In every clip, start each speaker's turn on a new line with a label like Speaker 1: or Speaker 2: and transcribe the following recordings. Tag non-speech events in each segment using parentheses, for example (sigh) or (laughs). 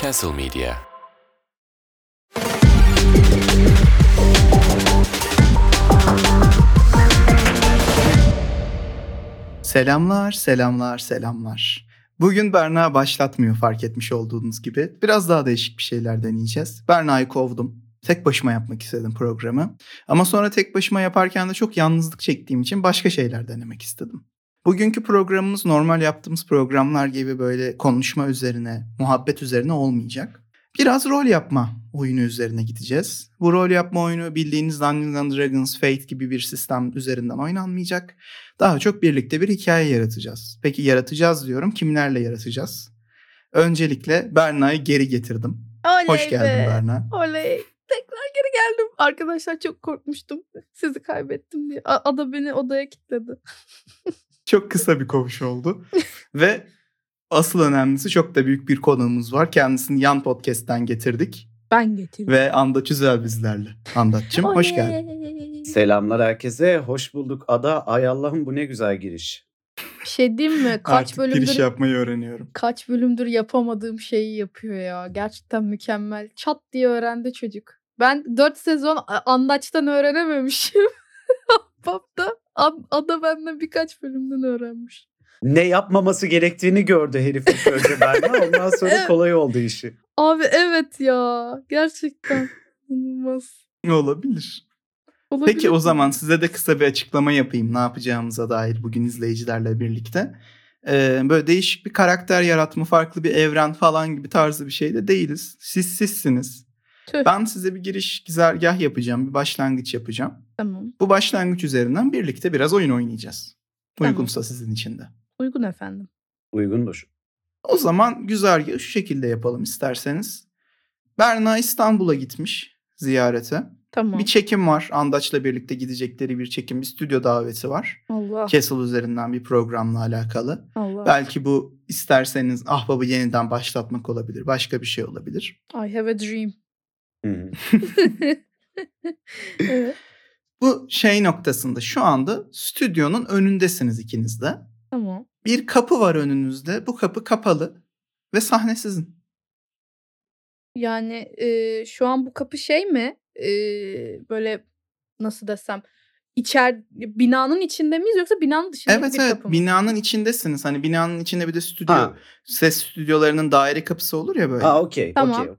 Speaker 1: Castle Media.
Speaker 2: Selamlar, selamlar, selamlar. Bugün Berna başlatmıyor fark etmiş olduğunuz gibi. Biraz daha değişik bir şeyler deneyeceğiz. Berna'yı kovdum. Tek başıma yapmak istedim programı. Ama sonra tek başıma yaparken de çok yalnızlık çektiğim için başka şeyler denemek istedim. Bugünkü programımız normal yaptığımız programlar gibi böyle konuşma üzerine, muhabbet üzerine olmayacak. Biraz rol yapma oyunu üzerine gideceğiz. Bu rol yapma oyunu bildiğiniz Dungeons and Dragons Fate gibi bir sistem üzerinden oynanmayacak. Daha çok birlikte bir hikaye yaratacağız. Peki yaratacağız diyorum. Kimlerle yaratacağız? Öncelikle Berna'yı geri getirdim.
Speaker 3: Oley
Speaker 2: Hoş geldin
Speaker 3: be.
Speaker 2: Berna.
Speaker 3: Oley. Tekrar geri geldim. Arkadaşlar çok korkmuştum. Sizi kaybettim diye. A- Ada beni odaya kilitledi.
Speaker 2: Çok kısa bir kovuş
Speaker 3: (laughs)
Speaker 2: oldu. Ve asıl önemlisi çok da büyük bir konuğumuz var. Kendisini yan podcast'ten getirdik.
Speaker 3: Ben getirdim.
Speaker 2: Ve Anda Çözel bizlerle. Andatçım hoş geldin.
Speaker 4: Selamlar herkese. Hoş bulduk Ada. Ay Allah'ım bu ne güzel giriş.
Speaker 3: Bir şey diyeyim mi? Kaç
Speaker 2: Artık
Speaker 3: bölümdür
Speaker 2: giriş yapmayı öğreniyorum.
Speaker 3: kaç bölümdür yapamadığım şeyi yapıyor ya. Gerçekten mükemmel. Çat diye öğrendi çocuk. Ben 4 sezon a- andaçtan öğrenememişim. (laughs) Ahbap'ta. Am- Ada benden birkaç bölümden öğrenmiş.
Speaker 4: Ne yapmaması gerektiğini gördü herif ilk önce Berna. Ondan
Speaker 3: (laughs)
Speaker 4: sonra
Speaker 3: Evet.
Speaker 4: kolay oldu işi.
Speaker 3: Abi evet ya.
Speaker 2: (laughs)
Speaker 3: Gerçekten. İnanılmaz.
Speaker 2: Olabilir.
Speaker 3: Olabilir
Speaker 2: Peki o
Speaker 3: mi?
Speaker 2: zaman size de kısa bir açıklama yapayım ne yapacağımıza dair bugün izleyicilerle birlikte. Ee, böyle değişik bir karakter yaratma, farklı bir evren falan gibi tarzı bir şey de değiliz. Siz sizsiniz.
Speaker 3: Tüh.
Speaker 2: Ben size bir giriş güzergah yapacağım, bir başlangıç yapacağım.
Speaker 3: Tamam.
Speaker 2: Bu başlangıç üzerinden birlikte biraz oyun oynayacağız.
Speaker 3: Tamam.
Speaker 2: Uygunsa sizin için de.
Speaker 3: Uygun efendim.
Speaker 4: Uygundur.
Speaker 2: O zaman güzergahı şu şekilde yapalım isterseniz. Berna İstanbul'a gitmiş ziyarete.
Speaker 3: Tamam.
Speaker 2: Bir çekim var. Andaç'la birlikte gidecekleri bir çekim, bir stüdyo daveti var.
Speaker 3: Allah
Speaker 2: Castle üzerinden bir programla alakalı.
Speaker 3: Allah.
Speaker 2: Belki bu isterseniz ahbabı yeniden başlatmak olabilir. Başka bir şey olabilir.
Speaker 3: I have a dream.
Speaker 4: Hı hı.
Speaker 2: Ee?
Speaker 3: evet.
Speaker 2: Bu şey noktasında şu anda stüdyonun önündesiniz ikiniz de.
Speaker 3: Tamam.
Speaker 2: Bir kapı var önünüzde. Bu kapı kapalı ve sahne sizin.
Speaker 3: Yani e, şu an bu kapı şey mi? E, böyle nasıl desem içer binanın içinde miyiz yoksa binanın dışında
Speaker 2: evet
Speaker 3: bir
Speaker 2: evet
Speaker 3: kapı mı?
Speaker 2: binanın içindesiniz. Hani binanın içinde bir de stüdyo.
Speaker 4: Ha,
Speaker 2: Ses stüdyolarının daire kapısı olur ya böyle.
Speaker 4: ha okey.
Speaker 3: Tamam.
Speaker 4: okey.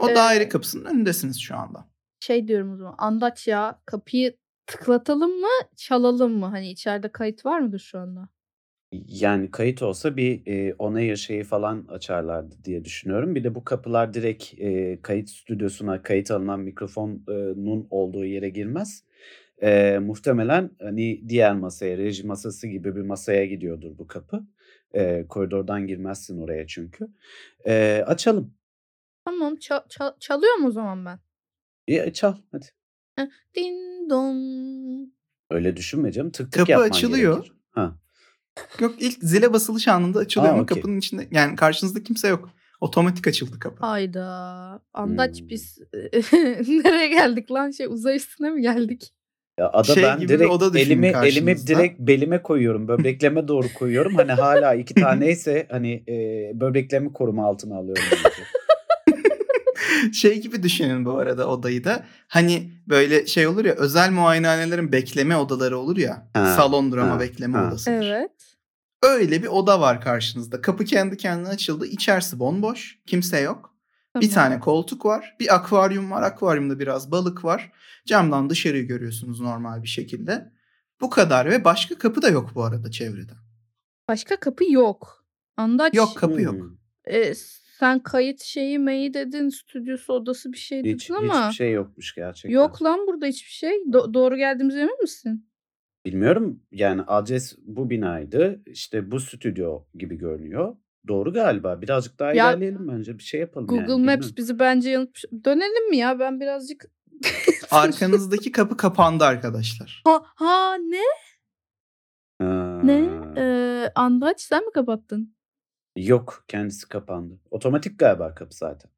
Speaker 2: o
Speaker 3: e-
Speaker 2: daire kapısının önündesiniz şu anda.
Speaker 3: Şey diyorum o zaman. Andaç ya kapıyı tıklatalım mı çalalım mı? Hani içeride kayıt var mıdır şu anda?
Speaker 4: Yani kayıt olsa bir e, onayır şeyi falan açarlardı diye düşünüyorum. Bir de bu kapılar direkt e, kayıt stüdyosuna kayıt alınan mikrofonun olduğu yere girmez. E, muhtemelen hani diğer masaya, reji masası gibi bir masaya gidiyordur bu kapı. E, koridordan girmezsin oraya çünkü. E, açalım.
Speaker 3: Tamam ça- ça- çalıyor mu o zaman ben?
Speaker 4: E, çal hadi.
Speaker 3: Din don.
Speaker 4: Öyle düşünme canım. Tık tık
Speaker 2: Kapı
Speaker 4: yapman
Speaker 2: açılıyor.
Speaker 4: gerekir. Ha.
Speaker 2: Yok ilk zile basılış anında açılıyor
Speaker 4: Aa,
Speaker 2: ama
Speaker 4: okey.
Speaker 2: kapının içinde yani karşınızda kimse yok. Otomatik açıldı kapı.
Speaker 3: Ayda. Andaç
Speaker 4: Hmm.
Speaker 3: biz (laughs) nereye geldik lan şey uzay üstüne mi geldik?
Speaker 4: Ya ada
Speaker 2: Şey
Speaker 4: ben
Speaker 2: gibi bir
Speaker 4: direkt
Speaker 2: oda düşünün
Speaker 4: elimi elimi
Speaker 2: karşınızda.
Speaker 4: direkt belime koyuyorum. Böbrekleme doğru koyuyorum. Hani
Speaker 2: (laughs)
Speaker 4: hala iki taneyse hani e, böbreklemi koruma altına alıyorum. bence.
Speaker 2: (laughs) şey gibi düşünün bu arada odayı da. Hani böyle şey olur ya özel muayenehanelerin bekleme odaları olur ya.
Speaker 4: Ha,
Speaker 2: salondur ama
Speaker 4: ha,
Speaker 2: bekleme
Speaker 4: ha.
Speaker 2: odasıdır.
Speaker 3: Evet.
Speaker 2: Öyle bir oda var karşınızda. Kapı kendi kendine açıldı. İçerisi bomboş. Kimse yok. Bir
Speaker 3: Tamam.
Speaker 2: tane koltuk var. Bir akvaryum var. Akvaryumda biraz balık var. Camdan dışarıyı görüyorsunuz normal bir şekilde. Bu kadar ve başka kapı da yok bu arada çevrede.
Speaker 3: Başka kapı yok. Andaç.
Speaker 2: Yok kapı yok.
Speaker 4: Hmm.
Speaker 3: e, sen kayıt şeyi meyi dedin stüdyosu odası bir şey dedin
Speaker 4: Hiç,
Speaker 3: ama
Speaker 4: hiçbir şey yokmuş gerçekten.
Speaker 3: yok lan burada hiçbir şey. Do- doğru geldiğimize emin misin?
Speaker 4: Bilmiyorum yani adres bu binaydı. İşte bu stüdyo gibi görünüyor. Doğru galiba. Birazcık daha
Speaker 3: Ya-
Speaker 4: ilerleyelim bence. Bir şey yapalım yani.
Speaker 3: Google Maps
Speaker 4: bilmiyorum.
Speaker 3: bizi bence yanıltmış. Dönelim mi ya ben birazcık.
Speaker 2: Arkanızdaki kapı kapandı arkadaşlar.
Speaker 3: ha, ha ne
Speaker 4: Ha.
Speaker 3: ne? Ee, Andaç sen mi kapattın?
Speaker 4: Yok kendisi kapandı. Otomatik galiba kapı zaten.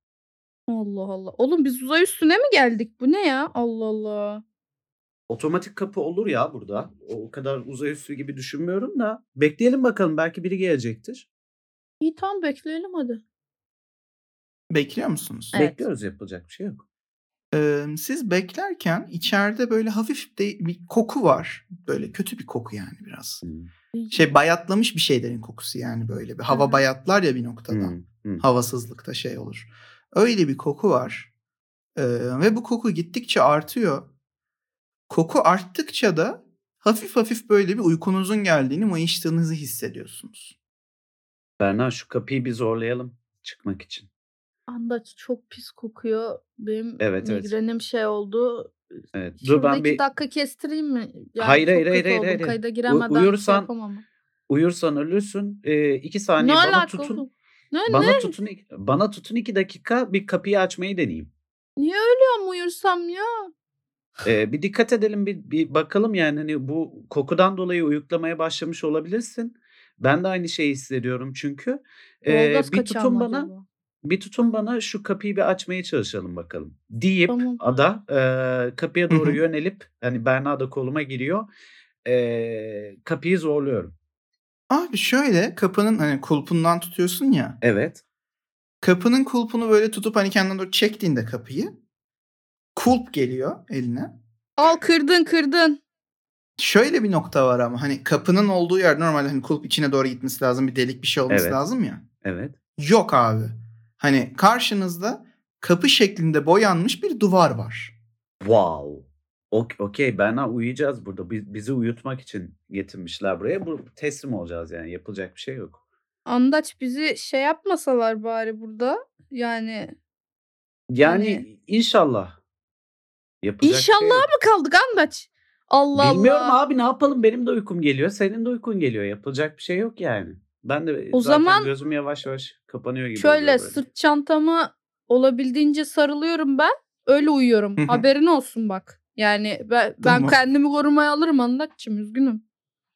Speaker 3: Allah Allah. Oğlum biz uzay üstüne mi geldik? Bu ne ya? Allah Allah.
Speaker 4: Otomatik kapı olur ya burada. O kadar uzay üstü gibi düşünmüyorum da. Bekleyelim bakalım belki biri gelecektir.
Speaker 3: İyi tamam bekleyelim hadi.
Speaker 2: Bekliyor musunuz?
Speaker 3: Evet.
Speaker 4: Bekliyoruz yapılacak bir şey yok.
Speaker 2: Ee, siz beklerken içeride böyle hafif de- bir koku var. Böyle kötü bir koku yani biraz.
Speaker 4: Hmm.
Speaker 2: Şey bayatlamış bir şeylerin kokusu yani böyle. Bir
Speaker 3: Hı hı.
Speaker 2: hava bayatlar ya bir noktada.
Speaker 4: Hmm. Hmm.
Speaker 2: Havasızlıkta şey olur. Öyle bir koku var. Ee, ve bu koku gittikçe artıyor. Koku arttıkça da hafif hafif böyle bir uykunuzun geldiğini, mayıştığınızı hissediyorsunuz.
Speaker 4: Berna şu kapıyı bir zorlayalım çıkmak için.
Speaker 3: Andaç çok pis kokuyor. Benim
Speaker 4: Evet, evet.
Speaker 3: migrenim şey oldu.
Speaker 4: Evet. Dur
Speaker 3: Şurada
Speaker 4: ben
Speaker 3: iki
Speaker 4: bir
Speaker 3: dakika kestireyim mi? Yani
Speaker 4: Hayır,
Speaker 3: çok
Speaker 4: hayır,
Speaker 3: kötü
Speaker 4: hayır, hayır,
Speaker 3: oldum.
Speaker 4: hayır.
Speaker 3: Kayda giremeden şey
Speaker 4: uyursan
Speaker 3: yapamam.
Speaker 4: uyursan ölürsün. Ee, iki saniye bana
Speaker 3: alaka
Speaker 4: tutun.
Speaker 3: oğlum? Ne, ne?
Speaker 4: Bana tutun ik- bana tutun iki dakika bir kapıyı açmayı deneyeyim.
Speaker 3: Niye ölüyorum uyursam ya?
Speaker 4: Ee, bir dikkat edelim bir, bir bakalım yani hani bu kokudan dolayı uyuklamaya başlamış olabilirsin. Ben de aynı şeyi hissediyorum çünkü. Ee,
Speaker 3: Doğalgaz
Speaker 4: bir
Speaker 3: kaçağı mı
Speaker 4: tutun bana
Speaker 3: acaba?
Speaker 4: bir tutun bana şu kapıyı bir açmaya çalışalım bakalım. Deyip
Speaker 3: Tamam.
Speaker 4: ada e, kapıya
Speaker 2: Hı hı.
Speaker 4: doğru yönelip hani Berna da koluma giriyor. E, kapıyı zorluyorum.
Speaker 2: Abi şöyle kapının hani kulpundan tutuyorsun ya.
Speaker 4: Evet.
Speaker 2: Kapının kulpunu böyle tutup hani kendine doğru çektiğinde kapıyı kulp geliyor eline.
Speaker 3: Al kırdın kırdın.
Speaker 2: Şöyle bir nokta var ama hani kapının olduğu yer normalde hani kulp içine doğru gitmesi lazım bir delik bir şey olması
Speaker 4: Evet.
Speaker 2: lazım ya.
Speaker 4: Evet.
Speaker 2: Yok abi. Hani karşınızda kapı şeklinde boyanmış bir duvar var.
Speaker 4: Wow. Ok- Okey Berna uyuyacağız burada. Biz, bizi uyutmak için getirmişler buraya. Bu teslim olacağız yani yapılacak bir şey yok.
Speaker 3: Andaç bizi şey yapmasalar bari burada. Yani
Speaker 4: Yani
Speaker 3: Yani-
Speaker 4: inşallah. Yapılacak bir şey
Speaker 3: İnşallah
Speaker 4: yok.
Speaker 3: mı kaldık Andaç? Allah
Speaker 4: Bilmiyorum
Speaker 3: Allah.
Speaker 4: abi ne yapalım benim de uykum geliyor senin de uykun geliyor yapılacak bir şey yok yani. Ben de
Speaker 3: O
Speaker 4: o
Speaker 3: zaman-
Speaker 4: zaman gözüm yavaş yavaş kapanıyor gibi oluyor
Speaker 3: Şöyle
Speaker 4: böyle.
Speaker 3: sırt çantamı olabildiğince sarılıyorum ben. Öyle uyuyorum.
Speaker 2: Hı hı.
Speaker 3: Haberin olsun bak. Yani ben, ben
Speaker 2: Tamam.
Speaker 3: kendimi korumaya alırım Andaç'cığım üzgünüm.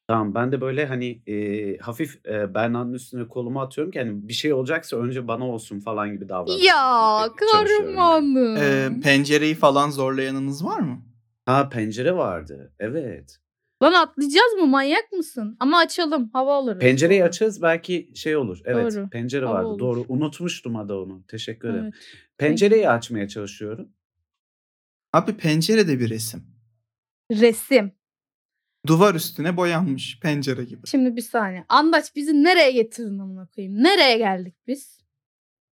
Speaker 4: Tamam ben de böyle hani e, hafif e, Berna'nın üstüne kolumu atıyorum ki hani bir şey olacaksa önce bana olsun falan gibi davranıyorum.
Speaker 3: Ya
Speaker 4: Çalışıyorum yani.
Speaker 3: kahramanım.
Speaker 2: Ee, pencereyi falan zorlayanınız var mı?
Speaker 4: Ha pencere vardı evet.
Speaker 3: Lan atlayacağız mı manyak mısın? Ama açalım hava alırız.
Speaker 4: Pencereyi
Speaker 3: Doğru.
Speaker 4: açarız belki şey olur. Evet
Speaker 3: Doğru.
Speaker 4: pencere
Speaker 3: Hava
Speaker 4: vardı
Speaker 3: olur.
Speaker 4: doğru unutmuştum ada onu teşekkür ederim.
Speaker 3: Evet.
Speaker 4: Pencereyi açmaya çalışıyorum.
Speaker 2: Abi pencerede bir resim.
Speaker 3: Resim.
Speaker 2: Duvar üstüne boyanmış pencere gibi.
Speaker 3: Şimdi bir saniye. Andaç bizi nereye getirdin amına koyayım? Nereye geldik biz?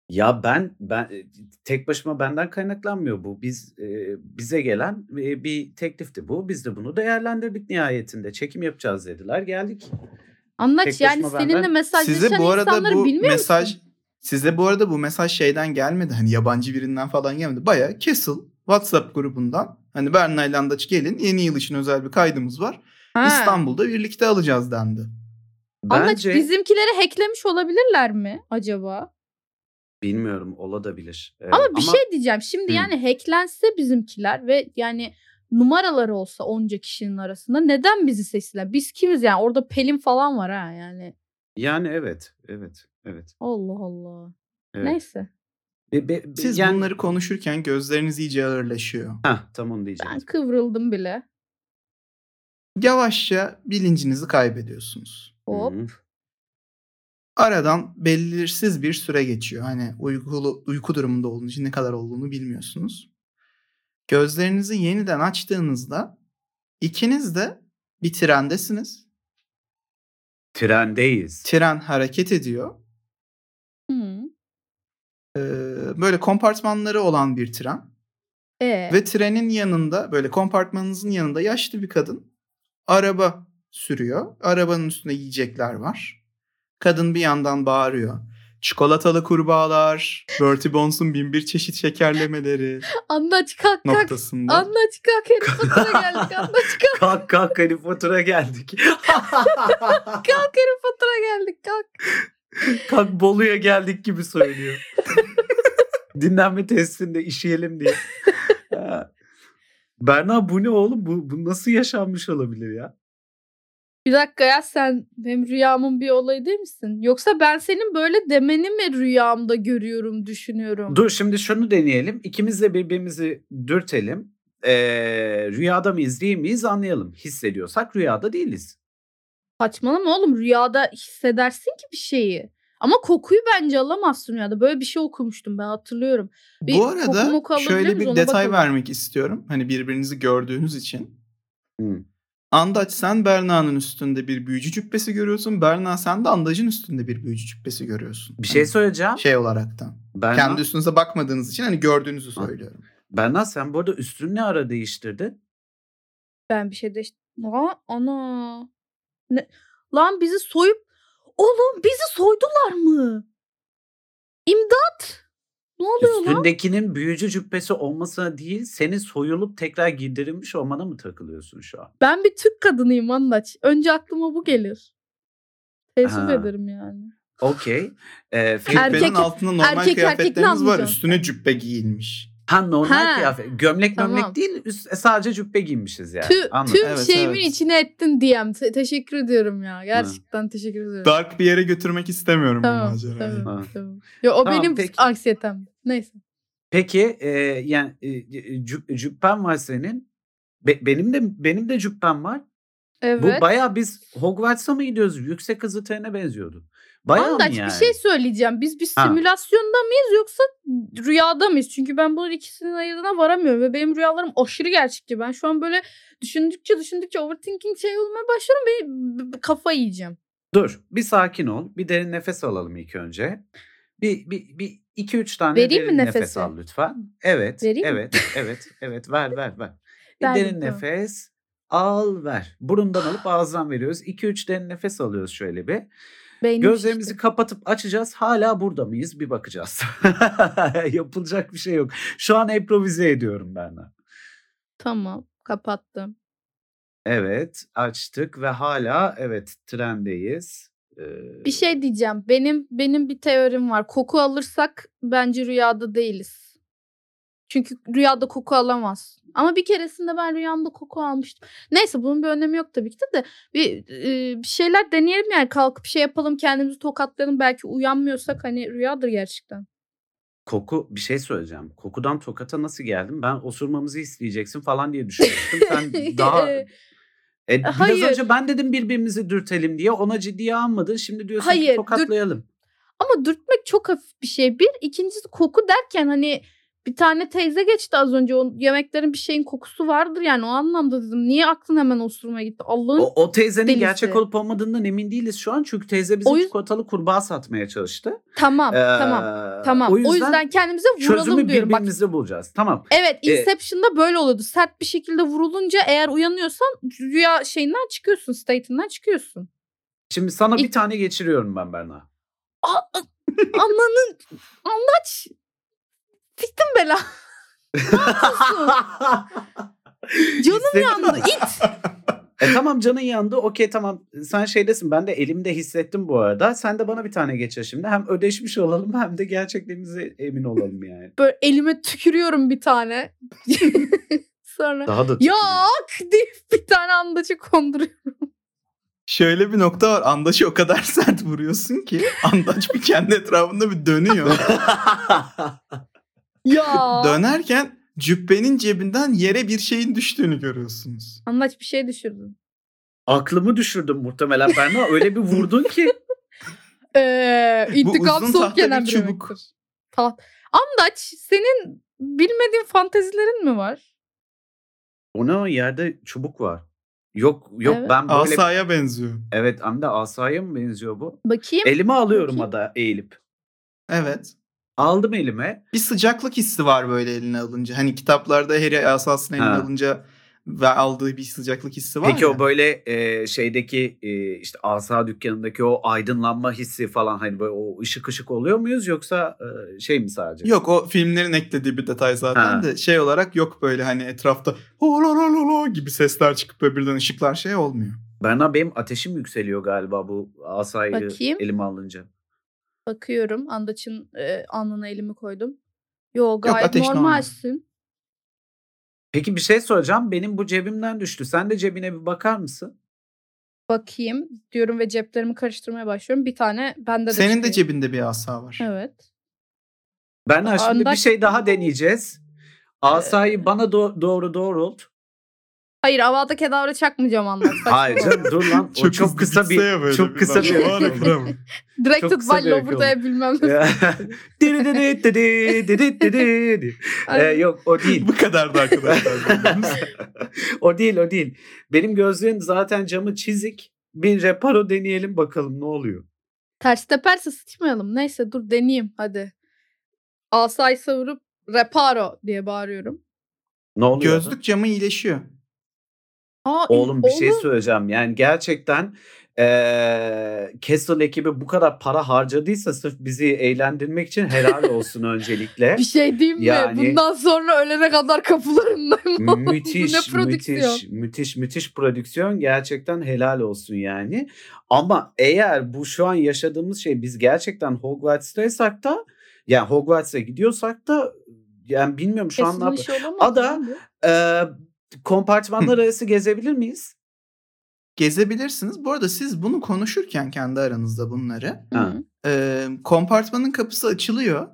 Speaker 4: Ya ben ben e, tek başıma benden kaynaklanmıyor bu. Biz e, bize gelen e, bir teklifti bu. Biz de bunu değerlendirdik nihayetinde. Çekim yapacağız dediler. Geldik.
Speaker 3: Andaç
Speaker 4: Tek
Speaker 3: yani
Speaker 4: başıma
Speaker 3: seninle
Speaker 4: benden-
Speaker 3: mesajlaşan
Speaker 2: Size bu arada
Speaker 3: insanları
Speaker 2: bu
Speaker 3: bilmiyor
Speaker 2: mesaj
Speaker 3: musun?
Speaker 2: size bu arada bu mesaj şeyden gelmedi. Hani yabancı birinden falan gelmedi. Baya Castle WhatsApp grubundan hani Berna ile Andaç gelin yeni yıl için özel bir kaydımız var.
Speaker 3: Ha.
Speaker 2: İstanbul'da birlikte alacağız dendi.
Speaker 3: Andaç
Speaker 4: Bence
Speaker 3: bizimkileri hacklemiş olabilirler mi acaba?
Speaker 4: bilmiyorum ola da bilir. Ee,
Speaker 3: Ama bir şey diyeceğim. Şimdi
Speaker 4: Hı.
Speaker 3: yani hacklense bizimkiler ve yani numaraları olsa onca kişinin arasında neden bizi seçtiler? Biz kimiz yani? Orada Pelin falan var ha yani.
Speaker 4: yani evet. Evet. Evet.
Speaker 3: Allah Allah.
Speaker 4: evet.
Speaker 3: Neyse.
Speaker 4: Be- be- be-
Speaker 2: Siz
Speaker 4: yani-
Speaker 2: bunları konuşurken gözleriniz iyice ağırlaşıyor.
Speaker 4: Hah, tam onu
Speaker 3: Ben
Speaker 4: diyeceğim.
Speaker 3: kıvrıldım bile.
Speaker 2: Yavaşça bilincinizi kaybediyorsunuz.
Speaker 3: Hop.
Speaker 2: Aradan belirsiz bir süre geçiyor. Hani uykulu, uyku durumunda olduğunuz için ne kadar olduğunu bilmiyorsunuz. Gözlerinizi yeniden açtığınızda ikiniz de bir trendesiniz.
Speaker 4: Trendeyiz.
Speaker 2: Tren hareket ediyor.
Speaker 3: Hı.
Speaker 2: Ee, böyle kompartmanları olan bir tren.
Speaker 3: E.
Speaker 2: (laughs) Ve trenin yanında böyle kompartmanınızın yanında yaşlı bir kadın araba sürüyor. Arabanın üstünde yiyecekler var. Kadın bir yandan bağırıyor. Çikolatalı kurbağalar, Bertie Bones'un binbir çeşit
Speaker 3: (laughs)
Speaker 2: şekerlemeleri
Speaker 3: Andaç kalk kalk.
Speaker 2: noktasında.
Speaker 3: Andaç kalk. Harry Potter'a geldik. Andaç kalk.
Speaker 4: kalk kalk Harry Potter'a geldik.
Speaker 3: Kalk Harry Potter'a geldik. Kalk.
Speaker 4: kalk Bolu'ya geldik gibi söylüyor. (laughs) Dinlenme testinde işeyelim (laughs) diye. Ha. Berna bu ne oğlum? Bu, bu nasıl yaşanmış olabilir ya?
Speaker 3: Bir dakika ya sen benim rüyamın bir olayı değil misin? Yoksa ben senin böyle demeni mi rüyamda görüyorum, düşünüyorum?
Speaker 4: Dur şimdi şunu deneyelim. İkimiz de birbirimizi dürtelim. Ee, rüyada mı izleyeyim miyiz anlayalım. Hissediyorsak rüyada değiliz.
Speaker 3: Saçmalama oğlum rüyada hissedersin ki bir şeyi. Ama kokuyu bence alamazsın ya da böyle bir şey okumuştum ben hatırlıyorum. Bir
Speaker 2: Bu
Speaker 3: koku
Speaker 2: arada
Speaker 3: moku alabilir
Speaker 2: şöyle
Speaker 3: miyiz?
Speaker 2: bir
Speaker 3: Ona
Speaker 2: detay
Speaker 3: bakalım.
Speaker 2: vermek istiyorum. Hani birbirinizi gördüğünüz için.
Speaker 4: Hı.
Speaker 2: Andaç sen Berna'nın üstünde bir büyücü cübbesi görüyorsun. Berna sen de Andaç'ın üstünde bir büyücü cübbesi görüyorsun.
Speaker 4: Bir
Speaker 2: Hani
Speaker 4: şey söyleyeceğim.
Speaker 2: şey olaraktan.
Speaker 4: Berna,
Speaker 2: Kendi üstünüze bakmadığınız için hani gördüğünüzü söylüyorum.
Speaker 4: Berna sen bu arada üstünü ne ara değiştirdin?
Speaker 3: Ben bir şey de Aa, ana. Ne? Lan bizi soyup oğlum bizi soydular mı? İmdat! Ne oluyor lan?
Speaker 4: Üstündekinin büyücü cübbesi olmasına değil, seni soyulup tekrar giydirilmiş olmana mı takılıyorsun şu an?
Speaker 3: Ben bir Türk kadınıyım Andaç. Önce aklıma bu gelir. Teessüf
Speaker 4: Ha.
Speaker 3: ederim yani.
Speaker 4: Okey. Ee, fe-
Speaker 3: Erkek-
Speaker 2: Cübbenin altında normal
Speaker 3: erkek erkekle
Speaker 2: kıyafetleriniz var.
Speaker 3: anlayacağım.
Speaker 2: Üstüne cübbe giyilmiş.
Speaker 4: ha normal
Speaker 3: Ha.
Speaker 4: kıyafet. Gömlek
Speaker 3: Tamam.
Speaker 4: gömlek değil, üst- e, sadece cübbe giymişiz yani.
Speaker 3: Tü-
Speaker 4: Anladım.
Speaker 3: tüm
Speaker 2: Evet,
Speaker 3: şeyimin
Speaker 2: evet.
Speaker 3: içine ettin diyem. Te- teşekkür ediyorum ya. Gerçekten teşekkür ediyorum.
Speaker 2: Dark bir yere götürmek istemiyorum bu
Speaker 3: tamam,
Speaker 2: macerayı.
Speaker 3: tamam,
Speaker 4: Ha.
Speaker 3: tamam. Ya o
Speaker 4: Tamam,
Speaker 3: benim
Speaker 4: peki.
Speaker 3: anksiyetem. Neyse.
Speaker 4: Peki e, yani e, e, cüb- cübben var senin. Be- benim de benim de cübbem var.
Speaker 3: Evet.
Speaker 4: Bu bayağı biz Hogwarts'a mı gidiyoruz? Yüksek hızlı trene benziyordu. Bayağı mı
Speaker 3: Andaç
Speaker 4: yani?
Speaker 3: bir şey söyleyeceğim. Biz bir
Speaker 4: Ha.
Speaker 3: simülasyonda mıyız yoksa rüyada mıyız? Çünkü ben bunun ikisinin ayırdığına varamıyorum ve benim rüyalarım aşırı gerçekçi. Ben şu an böyle düşündükçe düşündükçe overthinking şey olmaya başlıyorum. Beni b- b- kafa yiyeceğim.
Speaker 4: Dur bir sakin ol. Bir derin nefes alalım ilk önce. Bir, bir, bir iki üç tane
Speaker 3: Vereyim mi
Speaker 4: derin nefes
Speaker 3: nefesi?
Speaker 4: al lütfen. Evet.
Speaker 3: Vereyim mi?
Speaker 4: evet. Evet. Evet. Ver ver
Speaker 3: (laughs)
Speaker 4: ver. Bir
Speaker 3: Verdim,
Speaker 4: derin
Speaker 3: tamam.
Speaker 4: nefes al ver. Burundan alıp ağızdan veriyoruz. İki üç derin nefes alıyoruz şöyle bir.
Speaker 3: Beynim
Speaker 4: Gözlerimizi
Speaker 3: şişti.
Speaker 4: kapatıp açacağız. Hala burada mıyız? Bir bakacağız. (laughs) Yapılacak bir şey yok. Şu an improvize ediyorum ben. de.
Speaker 3: Tamam kapattım.
Speaker 4: Evet, açtık ve hala evet trendeyiz. Ee,
Speaker 3: Bir şey diyeceğim. Benim benim bir teorim var. Koku alırsak bence rüyada değiliz. Çünkü rüyada koku alamaz. Ama bir keresinde ben rüyamda koku almıştım. Neyse bunun bir önemi yok tabii ki de de bir, e, bir şeyler deneyelim yani kalkıp şey yapalım kendimizi tokatlayalım belki uyanmıyorsak hani rüyadır gerçekten.
Speaker 4: koku bir şey söyleyeceğim. Kokudan tokata nasıl geldim? Ben osurmamızı isteyeceksin falan diye düşünmüştüm.
Speaker 3: (laughs)
Speaker 4: Sen daha
Speaker 3: Ee,
Speaker 4: E, biraz
Speaker 3: hayır.
Speaker 4: önce ben dedim birbirimizi dürtelim diye. Ona ciddiye almadın. Şimdi diyorsun
Speaker 3: Hayır,
Speaker 4: ki
Speaker 3: dürt-
Speaker 4: tokatlayalım.
Speaker 3: Ama dürtmek çok hafif bir şey. Bir ikincisi koku derken hani bir tane teyze geçti az önce. O yemeklerin bir şeyin kokusu vardır yani o anlamda dedim. Niye aklın hemen osurmaya gitti? Allah'ın
Speaker 4: O, o teyzenin
Speaker 3: delisi.
Speaker 4: gerçek olup olmadığından emin değiliz şu an. Çünkü teyze bize
Speaker 3: O yüz-
Speaker 4: çikolatalı kurbağa satmaya çalıştı.
Speaker 3: Tamam, tamam,
Speaker 4: Ee,
Speaker 3: tamam. O yüzden, kendimize
Speaker 4: çözümü
Speaker 3: vuralım diyorum. Bak,
Speaker 4: birbirimize bulacağız. Tamam.
Speaker 3: evet,
Speaker 4: Ee,
Speaker 3: Inception'da böyle oluyordu. Sert bir şekilde vurulunca eğer uyanıyorsan rüya şeyinden çıkıyorsun, state'inden çıkıyorsun.
Speaker 4: Şimdi sana bir
Speaker 3: İlk-
Speaker 4: tane geçiriyorum ben Berna.
Speaker 3: Aa, a- Ananın anlaç. Siktim bela.
Speaker 4: (laughs)
Speaker 3: Canım
Speaker 4: Hissettin
Speaker 3: yandı.
Speaker 4: mi?
Speaker 3: it.
Speaker 4: E tamam canın yandı. Okey tamam. Sen şeydesin. Ben de elimde hissettim bu arada. Sen de bana bir tane geçir şimdi. Hem ödeşmiş olalım hem de gerçekliğimize emin olalım yani.
Speaker 3: Böyle elime tükürüyorum bir tane. (laughs) Sonra
Speaker 4: (laughs) Daha da
Speaker 3: yok deyip bir tane andaça konduruyorum.
Speaker 2: Şöyle bir nokta var. Andaç'ı o kadar (laughs) sert vuruyorsun ki Andaç bir kendi etrafında bir
Speaker 3: (laughs)
Speaker 2: dönüyor.
Speaker 3: Ya.
Speaker 2: Dönerken cübbenin cebinden yere bir şeyin düştüğünü görüyorsunuz.
Speaker 3: Anlaç bir şey düşürdün.
Speaker 4: Aklımı düşürdüm muhtemelen Berna. Öyle bir vurdun ki.
Speaker 3: Ee, intikam
Speaker 2: uzun
Speaker 3: soğuk
Speaker 2: tahta bir
Speaker 3: yenen bir
Speaker 2: çubuk.
Speaker 3: yemektir. Taht. Andaç senin bilmediğin fantezilerin mi var?
Speaker 4: O ne o yerde çubuk var. Yok yok
Speaker 3: Evet.
Speaker 4: ben böyle.
Speaker 2: Asaya benziyor.
Speaker 4: Evet hem de asaya mı benziyor bu?
Speaker 3: Bakayım.
Speaker 4: Elime alıyorum
Speaker 3: Bakayım.
Speaker 4: ada eğilip.
Speaker 2: Evet.
Speaker 4: Aldım elime.
Speaker 2: Bir sıcaklık hissi var böyle eline alınca. Hani kitaplarda Harry asasını eline
Speaker 4: Ha.
Speaker 2: alınca ve aldığı bir sıcaklık hissi var
Speaker 4: Peki
Speaker 2: ya.
Speaker 4: o böyle e, şeydeki e, işte asa dükkanındaki o aydınlanma hissi falan hani böyle o ışık ışık oluyor muyuz yoksa e, şey mi sadece?
Speaker 2: Yok o filmlerin eklediği bir detay zaten
Speaker 4: Ha.
Speaker 2: de şey olarak yok böyle hani etrafta "Ho la la la la" gibi sesler çıkıp böyle birden ışıklar şey olmuyor.
Speaker 4: Berna benim ateşim yükseliyor galiba bu asayı
Speaker 3: Bakayım.
Speaker 4: elime alınca.
Speaker 3: Bakıyorum. Andaç'ın e, alnına elimi koydum. Yo gayet
Speaker 2: ateş normal.
Speaker 3: normalsin.
Speaker 4: Peki bir şey soracağım. Benim bu cebimden düştü. Sen de cebine bir bakar mısın?
Speaker 3: Bakayım diyorum ve ceplerimi karıştırmaya başlıyorum. Bir tane bende de
Speaker 2: Senin de
Speaker 3: çıkıyor.
Speaker 2: cebinde bir asa var.
Speaker 3: Evet.
Speaker 4: Berna şimdi bir
Speaker 3: Andak-
Speaker 4: şey daha deneyeceğiz. Asayı
Speaker 3: Ee.
Speaker 4: bana do- doğru doğrult.
Speaker 3: Hayır havada kedavra çakmayacağım anlat.
Speaker 4: (laughs) Hayır canım dur lan.
Speaker 2: (laughs)
Speaker 4: O çok,
Speaker 2: hızlı
Speaker 4: kısa
Speaker 2: gitse
Speaker 4: bir
Speaker 2: ya böyle
Speaker 4: çok kısa bir
Speaker 2: Var ya
Speaker 4: (laughs) ekran.
Speaker 2: buram.
Speaker 3: Directed
Speaker 4: Çok kısa
Speaker 3: by
Speaker 4: bir yakın.
Speaker 3: Lover'da bilmem ne.
Speaker 4: (laughs) Diri diri diri diri diri. Ee,
Speaker 3: Ay,
Speaker 4: yok o
Speaker 2: (laughs)
Speaker 4: değil.
Speaker 2: Bu kadar da
Speaker 4: (laughs)
Speaker 2: arkadaşlar. bildiğimiz.
Speaker 4: o değil o değil. Benim gözlüğün zaten camı çizik. Bir reparo deneyelim bakalım ne oluyor.
Speaker 3: Ters teperse sıçmayalım. Neyse dur deneyeyim hadi. Asayı savurup reparo diye bağırıyorum.
Speaker 4: Ne oluyor?
Speaker 2: Gözlük camı iyileşiyor.
Speaker 3: Aa,
Speaker 4: Oğlum bir şey
Speaker 3: oğlum,
Speaker 4: söyleyeceğim. Yani gerçekten eee Castle ekibi bu kadar para harcadıysa sırf bizi eğlendirmek için helal olsun öncelikle.
Speaker 3: (laughs) bir şey diyeyim mi?
Speaker 4: Yani-
Speaker 3: Bundan sonra ölene kadar kapılarındayım. (laughs) oğlum. Bu ne
Speaker 4: müthiş,
Speaker 3: prodüksiyon?
Speaker 4: müthiş, müthiş, müthiş prodüksiyon. Gerçekten helal olsun yani. Ama eğer bu şu an yaşadığımız şey biz gerçekten Hogwarts'taysak da yani Hogwarts'a gidiyorsak da yani bilmiyorum şu an ne
Speaker 3: Kesin
Speaker 4: yap-
Speaker 3: bir şey olamaz.
Speaker 4: Ada-
Speaker 3: lan bu.
Speaker 4: Eee, kompartmanlar arası gezebilir miyiz?
Speaker 2: Gezebilirsiniz. Bu arada siz bunu konuşurken kendi aranızda bunları
Speaker 3: Hı
Speaker 4: Ha.
Speaker 3: hı.
Speaker 2: Ee, kompartmanın kapısı açılıyor.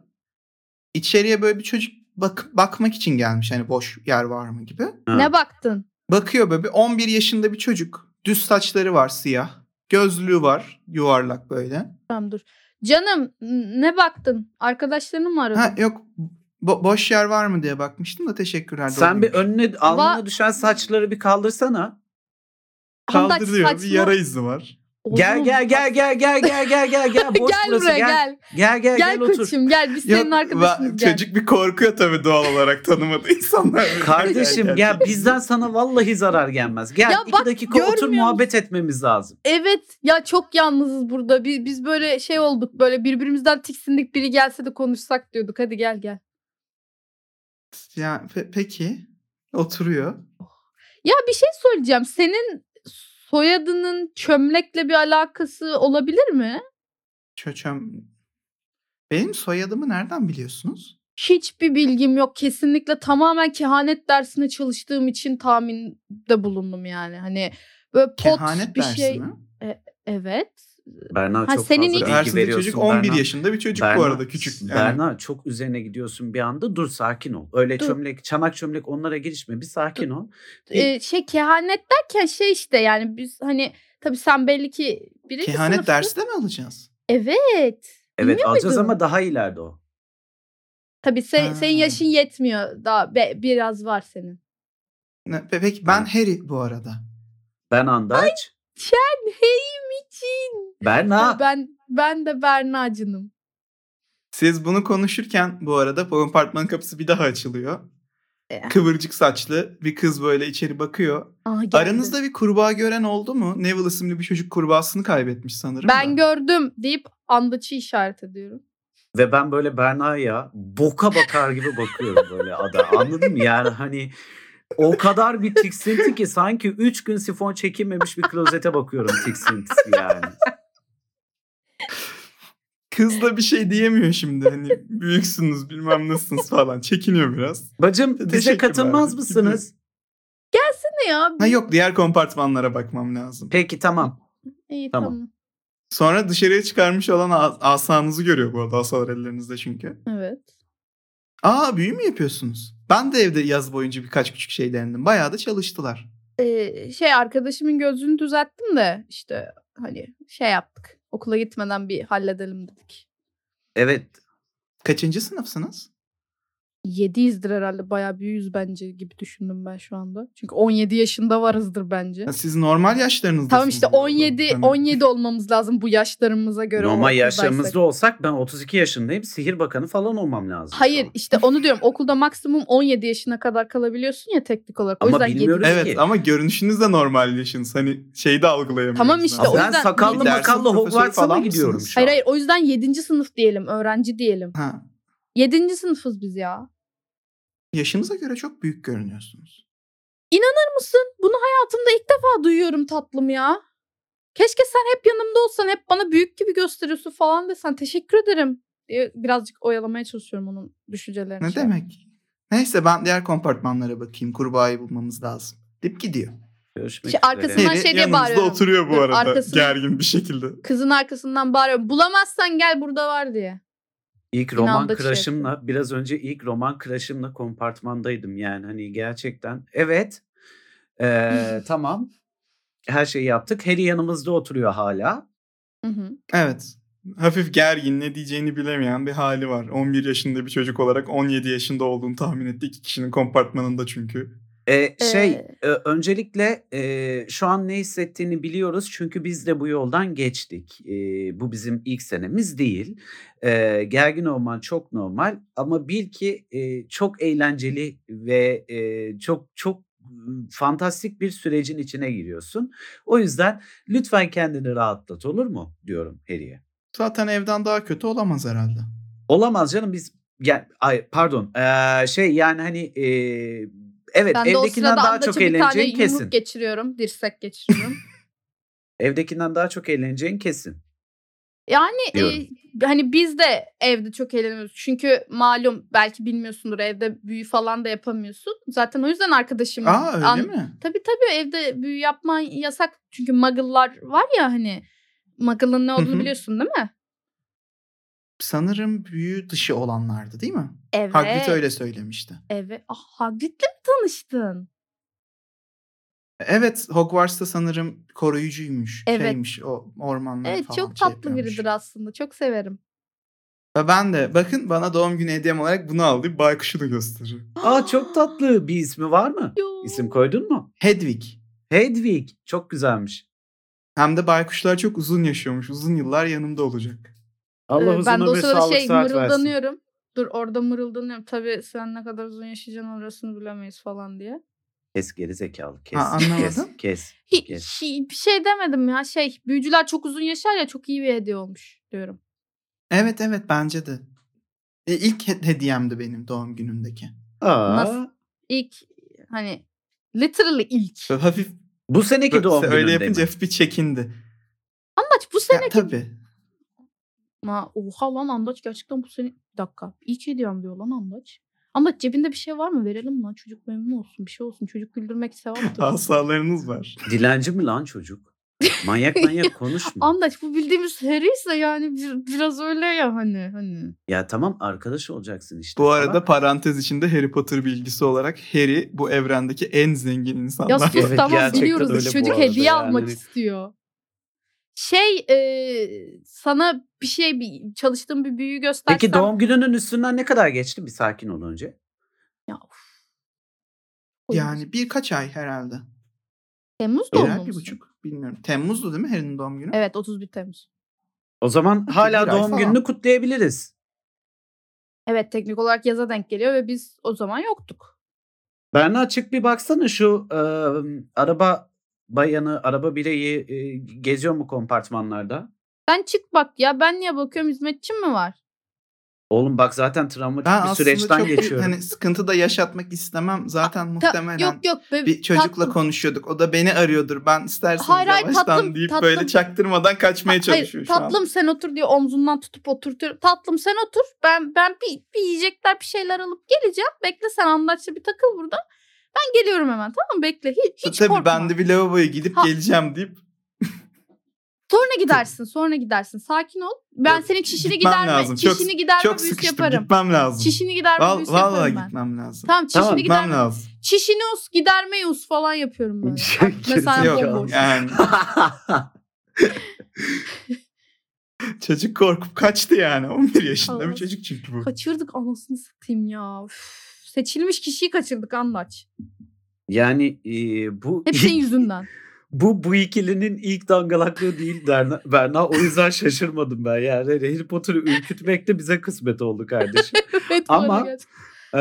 Speaker 2: İçeriye böyle bir çocuk bak bakmak için gelmiş. Hani boş yer var mı gibi.
Speaker 4: Ha.
Speaker 3: Ne baktın?
Speaker 2: Bakıyor böyle bir 11 yaşında bir çocuk. Düz saçları var siyah. Gözlüğü var yuvarlak böyle.
Speaker 3: Tamam dur. Canım n- ne baktın? Arkadaşlarını mı aradın?
Speaker 2: Ha yok bo- boş yer var mı diye bakmıştım da teşekkürler.
Speaker 4: Sen bir
Speaker 2: Doğruymuş.
Speaker 4: önüne alnına düşen saçları bir kaldırsana.
Speaker 3: Handaç saçma-
Speaker 2: izi var.
Speaker 3: Oğlum,
Speaker 4: Gel gel gel gel gel gel gel gel gel
Speaker 3: (laughs)
Speaker 4: boş
Speaker 3: gel
Speaker 4: burası
Speaker 3: buraya
Speaker 4: gel.
Speaker 3: gel.
Speaker 4: Gel gel gel,
Speaker 3: Gel,
Speaker 4: otur.
Speaker 3: koçum gel biz senin arkadaşınız gel.
Speaker 2: Çocuk bir korkuyor tabii doğal olarak tanımadığı insanlar.
Speaker 4: (laughs) (laughs) Kardeşim gel, bizden sana vallahi zarar gelmez. Gel
Speaker 3: Ya
Speaker 4: iki
Speaker 3: bak,
Speaker 4: dakika otur
Speaker 3: görmüyor
Speaker 4: muhabbet etmemiz lazım.
Speaker 3: Evet ya çok yalnızız burada. Biz, biz böyle şey olduk böyle birbirimizden tiksindik biri gelse de konuşsak diyorduk. Hadi gel gel.
Speaker 2: Ya, pe- peki oturuyor.
Speaker 3: Ya bir şey söyleyeceğim. Senin soyadının çömlekle bir alakası olabilir mi?
Speaker 2: Çöçem. Benim soyadımı nereden biliyorsunuz?
Speaker 3: Hiçbir bilgim yok. Kesinlikle tamamen kehanet dersine çalıştığım için tahminde bulundum yani. Hani böyle pot
Speaker 2: Kehanet
Speaker 3: bir
Speaker 2: dersi
Speaker 3: şey.
Speaker 2: mi?
Speaker 3: Evet.
Speaker 4: Berna
Speaker 3: Ha,
Speaker 4: çok
Speaker 3: senin ilk-
Speaker 4: fazla bilgi
Speaker 2: Dersindeki
Speaker 4: veriyorsun.
Speaker 2: çocuk 11
Speaker 4: Berna.
Speaker 2: yaşında bir çocuk bu
Speaker 4: Berna,
Speaker 2: arada küçük. Yani.
Speaker 4: Berna çok üzerine gidiyorsun bir anda. Dur sakin ol. Öyle
Speaker 3: Dur.
Speaker 4: çömlek, çanak çömlek onlara girişme. Bir sakin ol.
Speaker 2: E
Speaker 3: Ee, şey kehanet derken şey işte yani biz hani tabii sen belli ki birinci
Speaker 2: Kehanet
Speaker 3: sınıftın.
Speaker 2: dersi de mi alacağız?
Speaker 3: Evet.
Speaker 4: Evet alacağız
Speaker 3: muydun?
Speaker 4: ama daha ileride o.
Speaker 3: Tabii sen,
Speaker 2: Ha.
Speaker 3: senin yaşın yetmiyor daha be- biraz var senin. (laughs)
Speaker 2: Ne- pe- Peki ben Harry bu arada.
Speaker 4: Ben Andaç.
Speaker 3: Ben heyim için.
Speaker 4: Berna.
Speaker 3: Ben ben de Berna'cınım.
Speaker 2: Siz bunu konuşurken bu arada kompartmanın kapısı bir daha açılıyor.
Speaker 3: Eh.
Speaker 2: Kıvırcık saçlı bir kız böyle içeri bakıyor.
Speaker 3: Aa, Ah, geldi.
Speaker 2: Aranızda bir kurbağa gören oldu mu? Neville isimli bir çocuk kurbağasını kaybetmiş sanırım.
Speaker 3: ben
Speaker 2: da.
Speaker 3: gördüm deyip andaçı işaret ediyorum.
Speaker 4: Ve ben böyle Berna'ya boka bakar gibi bakıyorum böyle ada. Anladın mı? Yani hani o kadar bir tiksinti ki sanki 3 gün sifon çekilmemiş bir klozete bakıyorum tiksintisi yani.
Speaker 2: Kız da bir şey diyemiyor şimdi. Hani büyüksünüz bilmem nasılsınız falan. Çekiniyor biraz.
Speaker 4: Bacım bize
Speaker 2: Teşekkürler.
Speaker 4: katılmaz mısınız?
Speaker 3: Ne ya?
Speaker 2: Ha yok diğer kompartmanlara bakmam lazım.
Speaker 4: Peki tamam.
Speaker 3: İyi
Speaker 4: tamam.
Speaker 3: tamam.
Speaker 2: Sonra dışarıya çıkarmış olan a- asanızı görüyor bu arada. Asalar ellerinizde çünkü.
Speaker 3: Evet.
Speaker 2: Aa büyü mü yapıyorsunuz? Ben de evde yaz boyunca birkaç küçük şey denedim. Bayağı da çalıştılar.
Speaker 3: Ee, şey arkadaşımın gözünü düzelttim de işte hani şey yaptık. Okula gitmeden bir halledelim dedik.
Speaker 4: Evet.
Speaker 2: Kaçıncı sınıfsınız?
Speaker 3: Yediyizdir herhalde bayağı büyüğüz bence gibi düşündüm ben şu anda. Çünkü 17 yaşında varızdır bence.
Speaker 2: Ya Siz normal yaşlarınızdasınız.
Speaker 3: Tamam işte
Speaker 2: bu arada.
Speaker 3: 17
Speaker 2: Hani
Speaker 3: 17 olmamız lazım bu yaşlarımıza göre. o
Speaker 4: Normal
Speaker 3: okuldaysak.
Speaker 4: yaşlarımızda olsak ben 32 yaşındayım. Sihir bakanı falan olmam lazım. şu
Speaker 3: Hayır
Speaker 4: an.
Speaker 3: işte onu diyorum okulda maksimum 17 yaşına kadar kalabiliyorsun ya teknik olarak. O
Speaker 4: Ama
Speaker 3: yüzden yedi-
Speaker 4: bilmiyoruz.
Speaker 2: Evet
Speaker 4: ki.
Speaker 2: ama görünüşünüz de normal yaşınız. Hani şeyi de algılayamıyoruz.
Speaker 3: Tamam işte
Speaker 2: ben.
Speaker 3: o
Speaker 4: ben
Speaker 3: yüzden-
Speaker 4: sakallı
Speaker 2: Dersin
Speaker 4: makallı
Speaker 2: profesörü
Speaker 4: Hogwarts'a mı
Speaker 2: falan
Speaker 4: gidiyorum
Speaker 2: mısınız?
Speaker 4: şu an?
Speaker 3: Hayır hayır o yüzden 7. sınıf diyelim öğrenci diyelim.
Speaker 2: Ha,
Speaker 3: 7. sınıfız biz ya.
Speaker 2: yaşınıza göre çok büyük görünüyorsunuz.
Speaker 3: Biliyor musun? Bunu hayatımda ilk defa duyuyorum tatlım ya. Keşke sen hep yanımda olsan hep bana büyük gibi gösteriyorsun falan desen teşekkür ederim. diye Birazcık oyalamaya çalışıyorum onun düşüncelerini.
Speaker 2: Ne
Speaker 3: şey.
Speaker 2: demek? Neyse ben diğer kompartmanlara bakayım. Kurbağayı bulmamız lazım. Dip gidiyor.
Speaker 4: Görüşmek
Speaker 3: Şey,
Speaker 4: üzere.
Speaker 3: arkasına- Hemen şey diye bağırıyorum.
Speaker 2: oturuyor
Speaker 3: Dur, arkasına-
Speaker 2: gergin bir şekilde.
Speaker 3: Kızın arkasından bağırıyorum. Bulamazsan gel burada var diye.
Speaker 4: İlk
Speaker 3: Binanda
Speaker 4: roman
Speaker 3: şey
Speaker 4: crush'ımla biraz önce ilk roman crush'ımla kompartmandaydım yani hani gerçekten evet Ee, tamam. Her şeyi yaptık. Harry yanımızda oturuyor hala.
Speaker 3: Hı hı.
Speaker 2: Evet. Hafif gergin ne diyeceğini bilemeyen bir hali var. 11 yaşında bir çocuk olarak 17 yaşında olduğunu tahmin etti. İki kişinin kompartmanında çünkü.
Speaker 4: Ee, şey
Speaker 3: Ee,
Speaker 4: e, öncelikle e, şu an ne hissettiğini biliyoruz çünkü biz de bu yoldan geçtik. E, bu bizim ilk senemiz değil. E, gergin olman çok normal ama bil ki e, çok eğlenceli ve e, çok çok m, fantastik bir sürecin içine giriyorsun. O yüzden lütfen kendini rahatlat olur mu diyorum Harry'e.
Speaker 2: Zaten evden daha kötü olamaz herhalde.
Speaker 4: Olamaz canım biz yani ay pardon Ee, şey yani hani e, evet
Speaker 3: ben de o
Speaker 4: evdekinden
Speaker 3: sırada
Speaker 4: daha
Speaker 3: Andaç'a
Speaker 4: çok
Speaker 3: bir tane
Speaker 4: eğleneceğin
Speaker 3: yumruk
Speaker 4: kesin.
Speaker 3: geçiriyorum. Dirsek
Speaker 4: (laughs)
Speaker 3: geçiriyorum.
Speaker 4: Evdekinden daha çok eğleneceğin kesin.
Speaker 3: Yani e,
Speaker 4: Diyorum.
Speaker 3: hani biz de evde çok eğleniyoruz. Çünkü malum belki bilmiyorsundur evde büyü falan da yapamıyorsun. Zaten o yüzden arkadaşım.
Speaker 2: Aa öyle
Speaker 3: an-
Speaker 2: mi?
Speaker 3: Tabii tabii evde büyü yapman yasak. Çünkü muggle'lar var ya hani. Muggle'ın ne olduğunu
Speaker 2: hı.
Speaker 3: biliyorsun değil mi?
Speaker 2: Sanırım büyü dışı olanlardı değil mi?
Speaker 3: Evet.
Speaker 2: Hagrid öyle söylemişti.
Speaker 3: Evet. Ah, Hagrid'le mi tanıştın?
Speaker 2: Evet Hogwarts'ta sanırım koruyucuymuş.
Speaker 3: Evet.
Speaker 2: Şeymiş o ormanları
Speaker 3: Evet
Speaker 2: falan
Speaker 3: çok
Speaker 2: şey
Speaker 3: tatlı
Speaker 2: yapıyormuş.
Speaker 3: biridir aslında. Çok severim.
Speaker 2: Ve Ben de bakın bana doğum günü hediyem olarak bunu aldı. Baykuşunu gösteriyor.
Speaker 4: Aa çok tatlı bir ismi var mı?
Speaker 3: Yo.
Speaker 4: İsim koydun mu?
Speaker 2: Hedwig.
Speaker 4: Hedwig çok güzelmiş.
Speaker 2: Hem de baykuşlar çok uzun yaşıyormuş. Uzun yıllar yanımda olacak.
Speaker 4: Allah
Speaker 3: Ee,
Speaker 4: uzun
Speaker 3: ben de o
Speaker 4: ömür
Speaker 3: sırada
Speaker 4: sağlık
Speaker 3: şey
Speaker 4: sıhhat versin.
Speaker 3: mırıldanıyorum. Dur orada mırıldanıyorum. Tabii sen ne kadar uzun yaşayacaksın orasını bilemeyiz falan diye.
Speaker 4: Kes geri zekalı kes.
Speaker 2: Ha, anlamadım.
Speaker 4: Kes, kes.
Speaker 3: Hi-
Speaker 4: Yes.
Speaker 3: hi- bir şey demedim ya şey büyücüler çok uzun yaşar ya çok iyi bir hediye olmuş diyorum.
Speaker 2: Evet evet bence de. E, ilk he- hediyemdi benim doğum günümdeki.
Speaker 4: Aa,
Speaker 3: Nasıl? İlk hani literally ilk.
Speaker 2: Böyle hafif
Speaker 4: bu seneki doğum
Speaker 2: böyle,
Speaker 4: gününde
Speaker 2: öyle
Speaker 4: mi?
Speaker 2: yapınca hafif bir çekindi.
Speaker 3: Andaç bu
Speaker 2: Ya,
Speaker 3: sene
Speaker 2: tabii.
Speaker 3: Ma, oha lan Andaç gerçekten bu sene bir dakika ilk hediyem diyor lan Andaç. Andaç cebinde bir şey var mı verelim lan çocuk memnun olsun bir şey olsun çocuk güldürmek
Speaker 4: (laughs)
Speaker 3: sevaptır.
Speaker 2: Asalarınız var.
Speaker 4: Dilenci mi lan çocuk? Manyak
Speaker 3: (laughs)
Speaker 4: manyak konuşma.
Speaker 3: Andaç bu bildiğimiz heriyse yani bir- biraz öyle ya hani hani.
Speaker 4: ya tamam arkadaş olacaksın işte.
Speaker 2: Bu
Speaker 4: falan.
Speaker 2: arada parantez içinde Harry Potter bilgisi olarak Harry bu evrendeki en zengin
Speaker 3: Ya
Speaker 2: insanlar.
Speaker 3: sus
Speaker 4: Evet,
Speaker 3: tamam
Speaker 4: gerçekten
Speaker 3: biliyoruz
Speaker 4: öyle bu
Speaker 3: çocuk
Speaker 4: arada
Speaker 3: hediye
Speaker 4: yani. Hani
Speaker 3: almak istiyor. Şey e, sana bir şey bir çalıştığım bir büyü göstersem.
Speaker 4: Peki doğum gününün üstünden ne kadar geçti? Bir sakin ol önce.
Speaker 3: Ya, of.
Speaker 2: Yani birkaç ay herhalde.
Speaker 3: Temmuz doğumlu
Speaker 2: Birer
Speaker 3: musun?
Speaker 2: bir buçuk bilmiyorum. Temmuz'du değil mi Harry'nin doğum günü?
Speaker 3: Evet 31 Temmuz.
Speaker 4: O zaman
Speaker 2: bir
Speaker 4: hala
Speaker 2: ay
Speaker 4: doğum
Speaker 2: falan.
Speaker 4: gününü kutlayabiliriz.
Speaker 3: Evet teknik olarak yaza denk geliyor ve biz o zaman yoktuk.
Speaker 4: Berna açık bir baksana şu e, araba bayanı, araba bireyi e, geziyor mu kompartmanlarda?
Speaker 3: Ben çık bak ya ben niye bakıyorum hizmetçim mi var?
Speaker 4: Oğlum bak zaten travmatik
Speaker 2: Ben
Speaker 4: bir
Speaker 2: aslında
Speaker 4: süreçten
Speaker 2: çok bir-
Speaker 4: geçiyorum. (laughs)
Speaker 2: hani sıkıntı da yaşatmak istemem. Zaten
Speaker 3: Ta-
Speaker 2: muhtemelen
Speaker 3: yok yok. be-
Speaker 2: bir çocukla
Speaker 3: tatlım.
Speaker 2: konuşuyorduk. O da beni arıyordur. Ben isterseniz
Speaker 3: Hayır, hayır,
Speaker 2: yavaştan
Speaker 3: tatlım,
Speaker 2: deyip
Speaker 3: tatlım.
Speaker 2: böyle çaktırmadan kaçmaya
Speaker 3: Hayır,
Speaker 2: çalışıyor şu an.
Speaker 3: tatlım sen otur diyor omzundan tutup oturtuyor. Tatlım sen otur. Ben ben bir, bir yiyecekler bir şeyler alıp geleceğim. Bekle sen andaçla bir takıl burada. Ben geliyorum hemen tamam mı? Bekle hiç, hiç
Speaker 2: Tabii
Speaker 3: korkma.
Speaker 2: ben de bir lavaboya gidip
Speaker 3: Ha.
Speaker 2: geleceğim deyip
Speaker 3: Sonra gidersin sonra gidersin. Sakin ol. Ben
Speaker 2: Yok,
Speaker 3: senin çişini
Speaker 2: gitmem
Speaker 3: giderme.
Speaker 2: lazım. Çok-
Speaker 3: Çişini giderme
Speaker 2: çok
Speaker 3: büyüsü
Speaker 2: sıkıştım
Speaker 3: yaparım.
Speaker 2: gitmem lazım.
Speaker 3: Çişini giderme
Speaker 2: Val-
Speaker 3: büyüsü
Speaker 2: vallahi
Speaker 3: yaparım ben.
Speaker 2: gitmem lazım.
Speaker 3: Tamam çişini
Speaker 4: Tamam,
Speaker 3: giderme.
Speaker 2: Gitmem lazım.
Speaker 3: Çişini us giderme us falan
Speaker 2: (laughs)
Speaker 3: yapıyorum böyle.
Speaker 4: Şey,
Speaker 3: Mesela
Speaker 4: gerizekalı.
Speaker 2: Yok
Speaker 3: bomboş. (laughs)
Speaker 2: yani çocuk korkup kaçtı yani. 11 yaşında
Speaker 3: Allah.
Speaker 2: bir çocuk çünkü bu.
Speaker 3: Kaçırdık anasını satayım ya. Üf, Seçilmiş kişiyi kaçırdık andaç.
Speaker 4: yani e, bu
Speaker 3: Hep
Speaker 4: (laughs)
Speaker 3: senin yüzünden.
Speaker 4: bu bu ikilinin ilk dangalaklığı değil Berna, Berna. O
Speaker 3: (laughs)
Speaker 4: yüzden şaşırmadım ben. Yani Harry Potter'ı ürkütmek de bize kısmet oldu kardeşim.
Speaker 3: evet, bu arada
Speaker 4: Ama-
Speaker 3: gerçekten.
Speaker 4: Ee,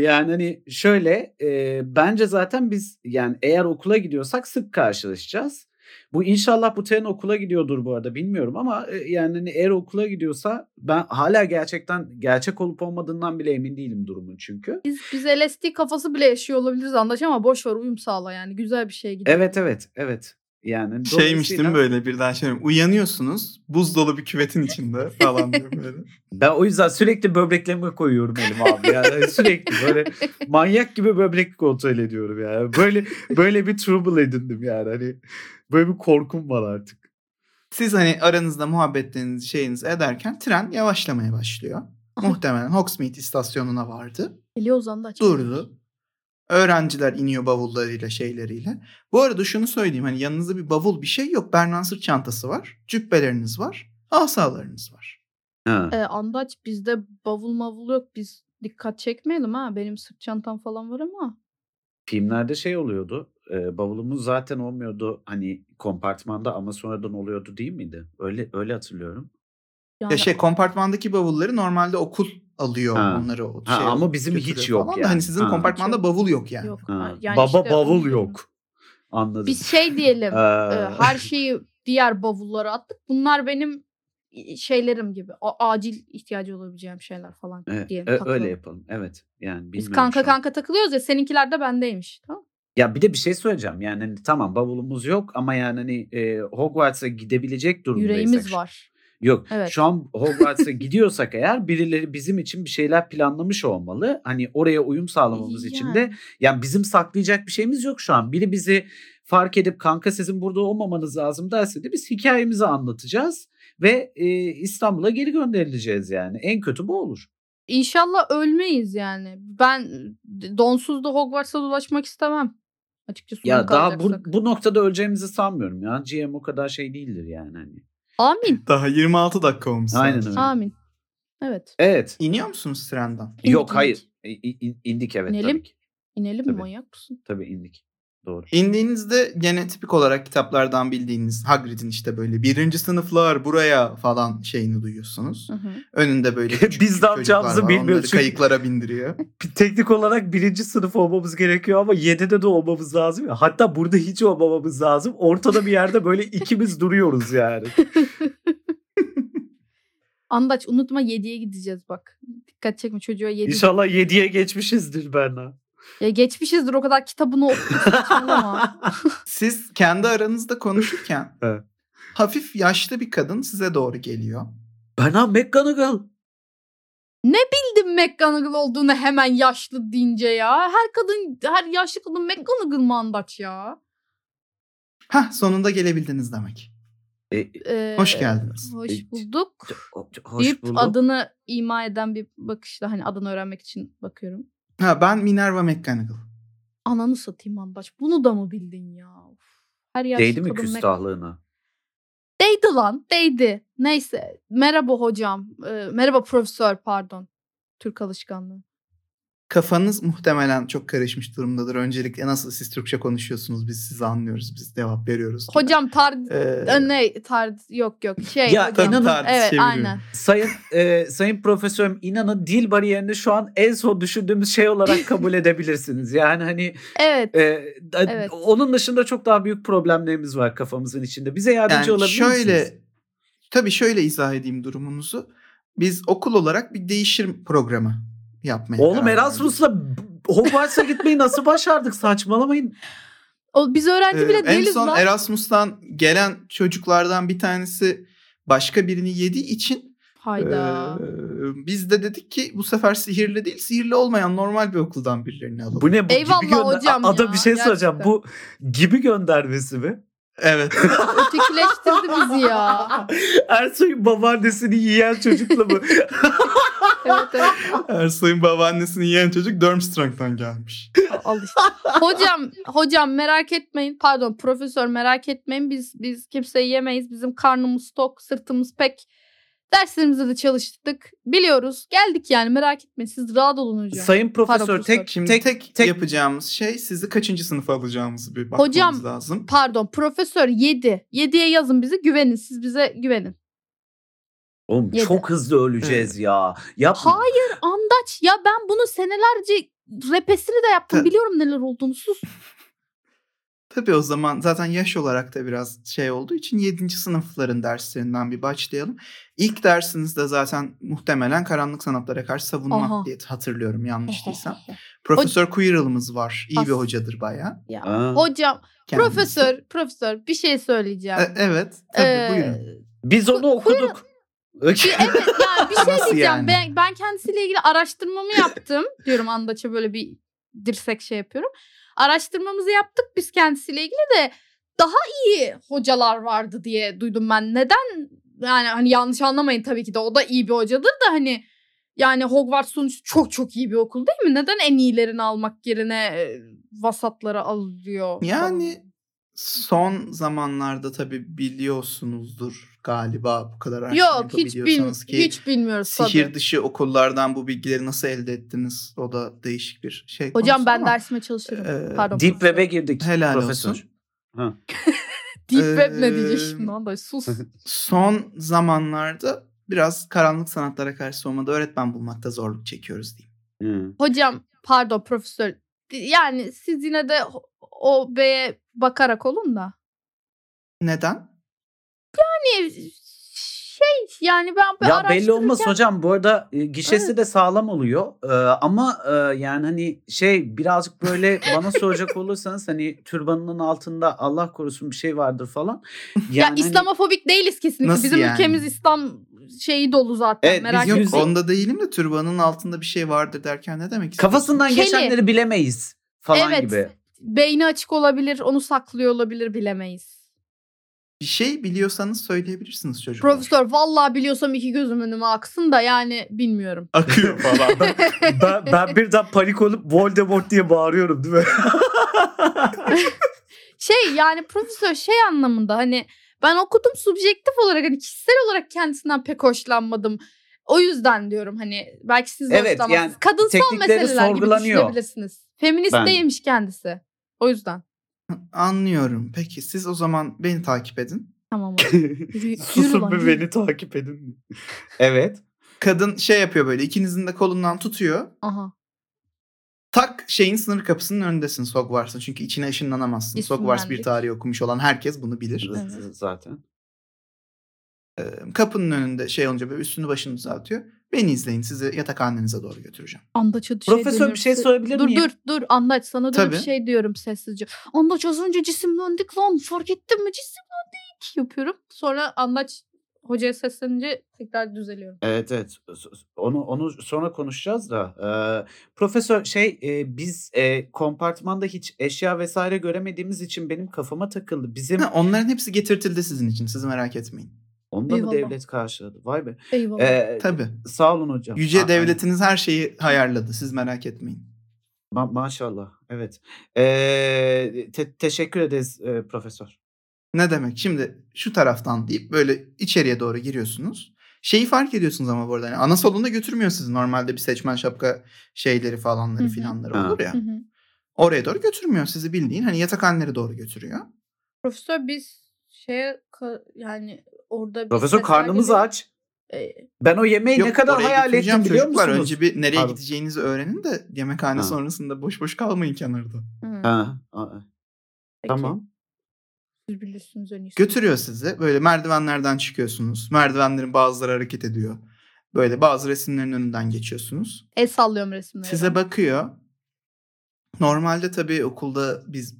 Speaker 4: yani hani şöyle e, bence zaten biz yani eğer okula gidiyorsak sık karşılaşacağız. Bu inşallah bu tren okula gidiyordur bu arada bilmiyorum ama e, yani hani eğer okula gidiyorsa ben hala gerçekten gerçek olup olmadığından bile emin değilim durumun çünkü.
Speaker 3: Biz, biz LSD kafası bile yaşıyor olabiliriz andaç ama boş ver uyum sağla yani. Güzel bir şey gidiyor.
Speaker 4: Evet evet evet. Yani
Speaker 2: Şeymiş değil mi
Speaker 4: dolayısıyla
Speaker 2: böyle birden şey uyanıyorsunuz buz dolu bir küvetin içinde falan diyor böyle.
Speaker 4: Ben o yüzden sürekli böbreklerime koyuyorum elimi abi. Yani sürekli
Speaker 2: (laughs)
Speaker 4: böyle manyak gibi böbrek kontrol ediyorum yani. Böyle böyle bir trouble edindim yani. Hani böyle bir korkum var artık.
Speaker 2: Siz hani aranızda muhabbetlerinizi şeyinizi ederken tren yavaşlamaya başlıyor. Muhtemelen Hogsmeade istasyonuna vardı.
Speaker 3: Geliyoruz andaç.
Speaker 2: Durdu. Öğrenciler iniyor bavullarıyla şeyleriyle. Bu arada şunu söyleyeyim hani yanınızda bir bavul bir şey yok. Berna sırt çantası var. Cübbeleriniz var. Asalarınız var.
Speaker 4: Ha.
Speaker 3: E, andaç bizde bavul mavul yok. Biz dikkat çekmeyelim ha. Benim sırt çantam falan var ama.
Speaker 4: Filmlerde şey oluyordu. e, bavulumuz zaten olmuyordu hani kompartmanda ama sonradan oluyordu değil miydi? Öyle öyle hatırlıyorum.
Speaker 3: Yani
Speaker 2: Ya şey kompartmandaki bavulları normalde okul alıyor
Speaker 4: Ha.
Speaker 2: onları. O şey
Speaker 4: Ha, ama bizim hiç
Speaker 2: götürüyor
Speaker 4: yok
Speaker 2: falan da
Speaker 4: yani.
Speaker 2: Hani sizin
Speaker 4: Ha.
Speaker 2: kompartmanda bavul yok yani.
Speaker 3: yok.
Speaker 4: Ha.
Speaker 3: Yani
Speaker 4: Baba
Speaker 3: işte
Speaker 4: bavul
Speaker 3: onu-
Speaker 4: yok. Anladım.
Speaker 3: Biz şey
Speaker 4: (laughs)
Speaker 3: diyelim. e,
Speaker 4: Ee,
Speaker 3: her şeyi diğer bavullara attık. Bunlar benim i- şeylerim gibi. A- acil ihtiyacı olabileceğim şeyler falan
Speaker 4: e,
Speaker 3: diyelim.
Speaker 4: e,
Speaker 3: takılalım.
Speaker 4: öyle yapalım. Evet. Yani
Speaker 3: Biz
Speaker 4: bilmiyorum
Speaker 3: kanka
Speaker 4: şu an.
Speaker 3: kanka takılıyoruz ya seninkiler de bendeymiş. Tamam.
Speaker 4: Ya bir de bir şey söyleyeceğim. Yani hani tamam bavulumuz yok ama yani hani e, Hogwarts'a gidebilecek durumdaysak.
Speaker 3: Yüreğimiz
Speaker 4: şu-
Speaker 3: var.
Speaker 4: Yok.
Speaker 3: Evet.
Speaker 4: Şu an Hogwarts'a gidiyorsak eğer birileri bizim için bir şeyler planlamış olmalı. Hani oraya uyum sağlamamız için de
Speaker 3: Yani.
Speaker 4: yani bizim saklayacak bir şeyimiz yok şu an. Biri bizi fark edip kanka sizin burada olmamanız lazım derse de biz hikayemizi anlatacağız ve e, İstanbul'a geri gönderileceğiz yani. En kötü bu olur.
Speaker 3: İnşallah ölmeyiz yani. Ben donsuz da Hogwarts'a dolaşmak istemem. Açıkçası
Speaker 4: Ya daha bu,
Speaker 3: kalacaksak.
Speaker 4: bu noktada öleceğimizi sanmıyorum ya. GM o kadar şey değildir yani. Hani.
Speaker 3: Amin.
Speaker 2: Daha 26 dakika olmuş.
Speaker 4: Aynen
Speaker 2: sadece.
Speaker 4: öyle.
Speaker 3: Amin. Evet.
Speaker 4: Evet.
Speaker 2: İniyor musunuz trenden?
Speaker 3: İndik,
Speaker 4: Yok
Speaker 3: indik.
Speaker 4: hayır. İ- i- in- indik evet
Speaker 3: İnelim.
Speaker 4: tabii ki.
Speaker 3: İnelim
Speaker 4: Tabii.
Speaker 3: mi manyak mısın?
Speaker 4: Tabii indik. Doğru.
Speaker 2: İndiğinizde gene tipik olarak kitaplardan bildiğiniz Hagrid'in işte böyle birinci sınıflar buraya falan şeyini duyuyorsunuz.
Speaker 3: Hı hı.
Speaker 2: Önünde
Speaker 4: (laughs)
Speaker 2: böyle
Speaker 4: Biz
Speaker 2: küçük
Speaker 4: ne
Speaker 2: çocuklar
Speaker 4: yapacağımızı
Speaker 2: var.
Speaker 4: bilmiyoruz
Speaker 2: Onları
Speaker 4: çünkü-
Speaker 2: kayıklara
Speaker 4: (laughs)
Speaker 2: bindiriyor.
Speaker 4: teknik olarak birinci sınıf olmamız gerekiyor ama 7'de de olmamız lazım ya. Hatta burada hiç olmamamız lazım. Ortada bir yerde böyle ikimiz duruyoruz yani.
Speaker 3: Andaç unutma 7'ye gideceğiz bak. Dikkat çekme çocuğa 7.
Speaker 4: İnşallah 7'ye geçmişizdir Berna.
Speaker 3: Ya geçmişizdir o kadar
Speaker 4: (laughs)
Speaker 3: kitabını okuduk. saçmalama.
Speaker 2: Siz kendi aranızda konuşurken
Speaker 4: (laughs) Evet.
Speaker 2: hafif yaşlı bir kadın size doğru geliyor.
Speaker 4: (laughs) Berna McGonagall.
Speaker 3: Bildim McGonagall olduğunu hemen yaşlı deyince ya. Her kadın, her yaşlı kadın McGonagall mı Andaç ya?
Speaker 2: Hah sonunda gelebildiniz demek.
Speaker 4: E,
Speaker 3: Ee,
Speaker 2: Hoş geldiniz.
Speaker 3: Hoş
Speaker 4: Evet.
Speaker 3: bulduk.
Speaker 4: hoş
Speaker 3: deyip
Speaker 4: bulduk.
Speaker 3: adını ima eden bir bakışla hani adını öğrenmek için bakıyorum.
Speaker 2: Ha ben Minerva McGonagall.
Speaker 3: Ananı satayım Andaç. Bunu da mı bildin ya? Of. Her yaşlı
Speaker 4: Değdi mi
Speaker 3: kadın Mac-
Speaker 4: küstahlığına?
Speaker 3: Değdi lan değdi. Neyse merhaba hocam. Ee, merhaba profesör pardon. Türk alışkanlığı.
Speaker 2: Kafanız muhtemelen çok karışmış durumdadır. Öncelikle nasıl siz Türkçe konuşuyorsunuz biz sizi anlıyoruz biz cevap veriyoruz. gibi.
Speaker 3: Hocam tar
Speaker 2: Ee,
Speaker 3: Ee, ne tar yok yok şey.
Speaker 4: Ya
Speaker 3: hocam.
Speaker 4: inanın-
Speaker 2: Tarz
Speaker 3: evet
Speaker 2: çeviriyorum.
Speaker 3: aynen.
Speaker 4: Sayın e, sayın profesörüm inanın dil bariyerini şu an en son düşündüğümüz şey olarak kabul edebilirsiniz. Yani hani
Speaker 3: Evet.
Speaker 4: e, da-
Speaker 3: Evet.
Speaker 4: onun dışında çok daha büyük problemlerimiz var kafamızın içinde. Bize yardımcı
Speaker 2: Yani
Speaker 4: olabilir
Speaker 2: şöyle,
Speaker 4: misiniz?
Speaker 2: Tabii şöyle izah edeyim durumunuzu. Biz okul olarak bir değişim programı yapmaya
Speaker 4: Oğlum
Speaker 2: karar verdik.
Speaker 4: Erasmus'la Hogwarts'a gitmeyi nasıl başardık? Saçmalamayın.
Speaker 3: O, biz öğrenci
Speaker 2: Ee,
Speaker 3: bile
Speaker 2: en
Speaker 3: değiliz
Speaker 2: son
Speaker 3: lan.
Speaker 2: Erasmus'tan gelen çocuklardan bir tanesi başka birini yediği için
Speaker 3: Hayda.
Speaker 2: e, biz de dedik ki bu sefer sihirli değil sihirli olmayan normal bir okuldan birilerini alalım.
Speaker 4: Bu ne bu
Speaker 3: Eyvallah
Speaker 4: gibi gönder-
Speaker 3: hocam
Speaker 4: Ada
Speaker 3: ya,
Speaker 4: bir şey soracağım.
Speaker 3: gerçekten.
Speaker 4: Bu gibi göndermesi mi?
Speaker 2: (laughs) Evet.
Speaker 3: Ötekileştirdi bizi
Speaker 4: (laughs)
Speaker 3: ya.
Speaker 4: Ersoy'un babaannesini yiyen
Speaker 3: (laughs)
Speaker 4: çocukla mı?
Speaker 3: Evet, evet.
Speaker 2: Ersoy'un babaannesini yiyen çocuk Durmstrang'dan gelmiş.
Speaker 3: Al işte. Hocam, hocam merak etmeyin. Pardon, profesör merak etmeyin. Biz biz kimseyi yemeyiz. Bizim karnımız tok, sırtımız pek. Derslerimize de çalıştık. Biliyoruz. Geldik yani merak etmeyin. Siz rahat olun hocam.
Speaker 4: sayın profesör
Speaker 3: Profesör.
Speaker 4: tek
Speaker 2: Şimdi
Speaker 4: tek
Speaker 2: tek,
Speaker 4: tek-
Speaker 2: yapacağımız şey sizi kaçıncı sınıfa alacağımızı bir bakmamız
Speaker 3: Hocam,
Speaker 2: lazım.
Speaker 3: Pardon, profesör 7. 7'ye yazın bizi. Güvenin. Siz bize güvenin.
Speaker 4: Oğlum
Speaker 3: Yedi.
Speaker 4: çok hızlı öleceğiz ya. Yapma.
Speaker 3: Hayır andaç. Ya ben bunu senelerce repesini de yaptım.
Speaker 2: Tabii.
Speaker 3: Biliyorum neler olduğunu. Sus.
Speaker 2: Tabii o zaman zaten yaş olarak da biraz şey olduğu için 7. sınıfların derslerinden bir başlayalım. İlk dersinizde zaten muhtemelen karanlık sanatlara karşı savunma
Speaker 3: Aha.
Speaker 2: diye hatırlıyorum yanlış değilsem. Profesör Quirrell'ımız var. İyi bir
Speaker 3: As-
Speaker 2: hocadır bayağı.
Speaker 3: ya.
Speaker 4: Aa.
Speaker 3: Hocam,
Speaker 2: kendisi.
Speaker 3: profesör, profesör bir şey söyleyeceğim.
Speaker 2: E, evet. Tabii
Speaker 3: Ee,
Speaker 2: buyurun.
Speaker 4: Biz onu okuduk.
Speaker 3: Bir- evet yani bir şey
Speaker 2: Nasıl
Speaker 3: diyeceğim.
Speaker 2: yani?
Speaker 3: Ben, ben kendisiyle ilgili araştırmamı
Speaker 2: (laughs)
Speaker 3: yaptım. Diyorum Andaç'a böyle bir dirsek şey yapıyorum. Araştırmamızı yaptık biz kendisiyle ilgili de daha iyi hocalar vardı diye duydum ben. Neden? Yani hani yanlış anlamayın tabii ki de o da iyi bir hocadır da hani Yani Hogwarts sonuç çok çok iyi bir okul değil mi? Neden en iyilerini almak yerine e, vasatları alıyor?
Speaker 2: Yani son zamanlarda tabii biliyorsunuzdur galiba bu kadar
Speaker 3: falan?
Speaker 2: araştırma
Speaker 3: Yok hiç,
Speaker 2: yapabiliyorsanız
Speaker 3: bilmi- hiç bilmiyoruz
Speaker 2: Sihir
Speaker 3: tabii.
Speaker 2: dışı okullardan bu bilgileri nasıl elde ettiniz? O da değişik bir şey.
Speaker 3: Hocam
Speaker 2: konusu
Speaker 3: ben
Speaker 2: ama,
Speaker 3: dersime çalışırım.
Speaker 2: e,
Speaker 3: Pardon.
Speaker 4: Deep Web'e girdik
Speaker 2: Helal
Speaker 4: profesör.
Speaker 2: olsun.
Speaker 4: Ha.
Speaker 3: Deep Web ne diyecek
Speaker 2: Ee,
Speaker 3: şimdi? Anday sus.
Speaker 2: Son zamanlarda biraz karanlık sanatlara karşı soğumada öğretmen bulmakta zorluk çekiyoruz diyeyim.
Speaker 4: Hı.
Speaker 3: Hocam pardon profesör. Yani siz yine de o- o B'ye bakarak olun da.
Speaker 2: Neden?
Speaker 3: Hani şey yani ben bir
Speaker 4: Ya belli
Speaker 3: araştırırken-
Speaker 4: olmaz hocam. Bu arada e, gişesi
Speaker 3: Evet.
Speaker 4: de sağlam oluyor. Ee, ama e, yani hani şey birazcık böyle bana
Speaker 3: (laughs)
Speaker 4: soracak olursanız hani türbanının altında Allah korusun bir şey vardır falan.
Speaker 3: Ya
Speaker 4: Yani hani-
Speaker 3: İslamofobik değiliz kesinlikle.
Speaker 2: Nasıl
Speaker 3: Bizim
Speaker 2: yani?
Speaker 3: ülkemiz İslam şeyi dolu zaten.
Speaker 4: Evet,
Speaker 3: merak
Speaker 4: biz
Speaker 2: Yok
Speaker 3: etmeyin.
Speaker 4: yüzde-
Speaker 2: onda değilim de türbanın altında bir şey vardır derken ne demek istiyorsun?
Speaker 4: kafasından
Speaker 3: Kelly.
Speaker 4: geçenleri bilemeyiz falan
Speaker 3: Evet.
Speaker 4: gibi.
Speaker 3: Beyni açık olabilir, onu saklıyor olabilir bilemeyiz.
Speaker 2: Bir şey biliyorsanız söyleyebilirsiniz çocuklar.
Speaker 3: Profesör vallahi biliyorsam iki gözüm önüme aksın da yani bilmiyorum.
Speaker 2: (laughs) Akıyor falan.
Speaker 4: ben, ben birden panik olup Voldemort diye
Speaker 2: (laughs)
Speaker 4: bağırıyorum değil mi?
Speaker 3: şey yani profesör şey anlamında hani ben okudum subjektif olarak hani kişisel olarak kendisinden pek hoşlanmadım. O yüzden diyorum hani belki siz de
Speaker 4: Evet,
Speaker 3: hoşlanmazsınız.
Speaker 4: yani
Speaker 3: Kadınsal
Speaker 4: teknikleri
Speaker 3: meseleler gibi
Speaker 4: sorgulanıyor.
Speaker 3: düşünebilirsiniz. Feminist
Speaker 4: Bence.
Speaker 3: değilmiş kendisi. O yüzden.
Speaker 2: Anlıyorum. Peki siz o zaman beni takip edin.
Speaker 3: Tamam.
Speaker 4: (laughs)
Speaker 3: hadi. Yürü- yürü lan, yürü.
Speaker 4: takip edin. Evet.
Speaker 2: Kadın şey yapıyor böyle ikinizin de kolundan tutuyor.
Speaker 3: Aha.
Speaker 2: Tak şeyin sınır kapısının önündesin Hogwarts'ın. Çünkü içine ışınlanamazsın.
Speaker 3: İsim
Speaker 2: Hogwarts bir
Speaker 3: verdik.
Speaker 2: tarih okumuş olan herkes bunu bilir.
Speaker 3: Evet.
Speaker 4: Z- Zaten.
Speaker 2: Ee, Kapının önünde şey olunca böyle üstünü başını düzeltiyor. Beni izleyin sizi yatakhanenize doğru götüreceğim.
Speaker 3: Andaç adı
Speaker 4: Profesör, bir şey sorabilir
Speaker 3: dur,
Speaker 4: miyim?
Speaker 3: Dur dur Andaç sana dönüp
Speaker 2: Tabii.
Speaker 3: şey diyorum sessizce. Andaç az önce cisimlendik lan fark ettin mi cisimlendik yapıyorum. Sonra Andaç hocaya seslenince tekrar düzeliyorum.
Speaker 4: Evet evet. S- s- Onu onu sonra konuşacağız da. Ee, profesör şey e, biz e, kompartmanda hiç eşya vesaire göremediğimiz için benim kafama takıldı. Bizim
Speaker 2: Ha, onların hepsi getirtildi sizin için. Siz merak etmeyin.
Speaker 4: onda mı
Speaker 3: Eyvallah.
Speaker 4: devlet karşıladı? Vay be.
Speaker 3: Eyvallah.
Speaker 4: Ee,
Speaker 2: Tabii.
Speaker 4: Sağ olun hocam. hani,
Speaker 2: Yüce
Speaker 4: Aa,
Speaker 2: devletiniz her şeyi ayarladı. Siz merak etmeyin.
Speaker 4: ma- maşallah. Evet. Ee, te- teşekkür ederiz e, profesör.
Speaker 2: Ne demek? Şimdi şu taraftan deyip böyle içeriye doğru giriyorsunuz. Şeyi fark ediyorsunuz ama bu arada. Yani ana salonda götürmüyor sizi. Normalde bir seçmen şapka şeyleri falanları
Speaker 3: Hı hı.
Speaker 2: filanları
Speaker 4: Ha.
Speaker 2: olur ya.
Speaker 3: Hı hı.
Speaker 2: Oraya doğru götürmüyor sizi bildiğin. Hani yatakhanelere doğru götürüyor.
Speaker 3: Profesör biz şeye ka- yani orada bir
Speaker 4: Profesör
Speaker 3: sesler
Speaker 4: karnımız
Speaker 3: geliyor.
Speaker 4: aç.
Speaker 3: Ee,
Speaker 4: Ben o yemeği ne
Speaker 2: Yok,
Speaker 4: kadar
Speaker 2: oraya
Speaker 4: hayal
Speaker 2: götüreceğim
Speaker 4: ettim biliyor
Speaker 2: çocuklar.
Speaker 4: musunuz?
Speaker 2: Önce bir nereye
Speaker 4: Pardon.
Speaker 2: gideceğinizi öğrenin de yemekhane
Speaker 4: Ha.
Speaker 2: sonrasında boş boş kalmayın kenarda.
Speaker 3: hı,
Speaker 4: Ha, aa,
Speaker 3: peki.
Speaker 4: tamam.
Speaker 3: Siz bilirsiniz en iyisi.
Speaker 2: Götürüyor sizi. Böyle merdivenlerden çıkıyorsunuz. Merdivenlerin bazıları hareket ediyor. Böyle bazı resimlerin önünden geçiyorsunuz.
Speaker 3: El sallıyorum resimlere.
Speaker 2: Size bakıyor. Normalde tabii okulda biz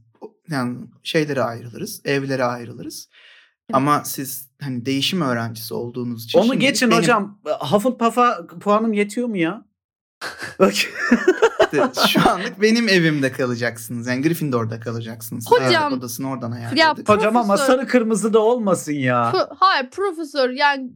Speaker 2: yani şeylere ayrılırız, evlere ayrılırız.
Speaker 3: Evet.
Speaker 2: Ama siz hani değişim öğrencisi olduğunuz için
Speaker 4: Onu
Speaker 2: şimdi
Speaker 4: geçin
Speaker 2: benim
Speaker 4: hocam. Hufflepuff'a puanım yetiyor mu (laughs) ya? Bak.
Speaker 2: de- şu anlık benim evimde kalacaksınız. Yani Gryffindor'da kalacaksınız. Size
Speaker 3: Hocam,
Speaker 2: yatak odasını oradan
Speaker 3: ya
Speaker 2: ayarladık.
Speaker 4: hocam ama
Speaker 3: Profesör.
Speaker 4: sarı kırmızı da olmasın ya.
Speaker 3: Pro- Hayır profesör yani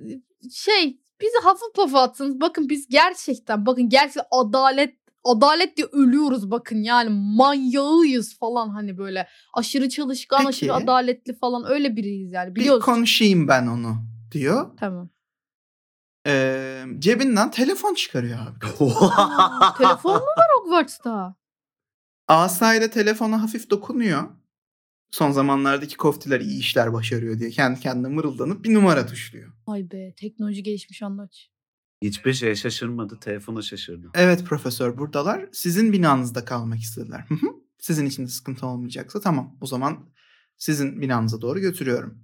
Speaker 3: şey bizi Hufflepuff'a attınız. Bakın biz gerçekten bakın gerçekten adalet adalet diye ölüyoruz bakın yani manyağıyız falan hani böyle aşırı çalışkan
Speaker 2: Peki.
Speaker 3: aşırı adaletli falan öyle biriyiz yani
Speaker 2: Bir
Speaker 3: biliyoruz.
Speaker 2: konuşayım ben onu diyor.
Speaker 4: (laughs)
Speaker 3: tamam.
Speaker 2: Ee, cebinden telefon çıkarıyor abi.
Speaker 4: (laughs)
Speaker 3: Aa, telefon mu var Hogwarts'ta?
Speaker 2: Asayla telefona hafif dokunuyor. Son zamanlardaki koftiler iyi işler başarıyor diye kendi kendine mırıldanıp bir numara tuşluyor.
Speaker 3: Ay be teknoloji gelişmiş anlaç.
Speaker 4: Hiçbir şeye şaşırmadı. Telefona şaşırdı.
Speaker 2: Evet profesör buradalar. Sizin binanızda kalmak istediler. Hı hı. sizin için de sıkıntı olmayacaksa tamam o zaman sizin binanıza doğru götürüyorum.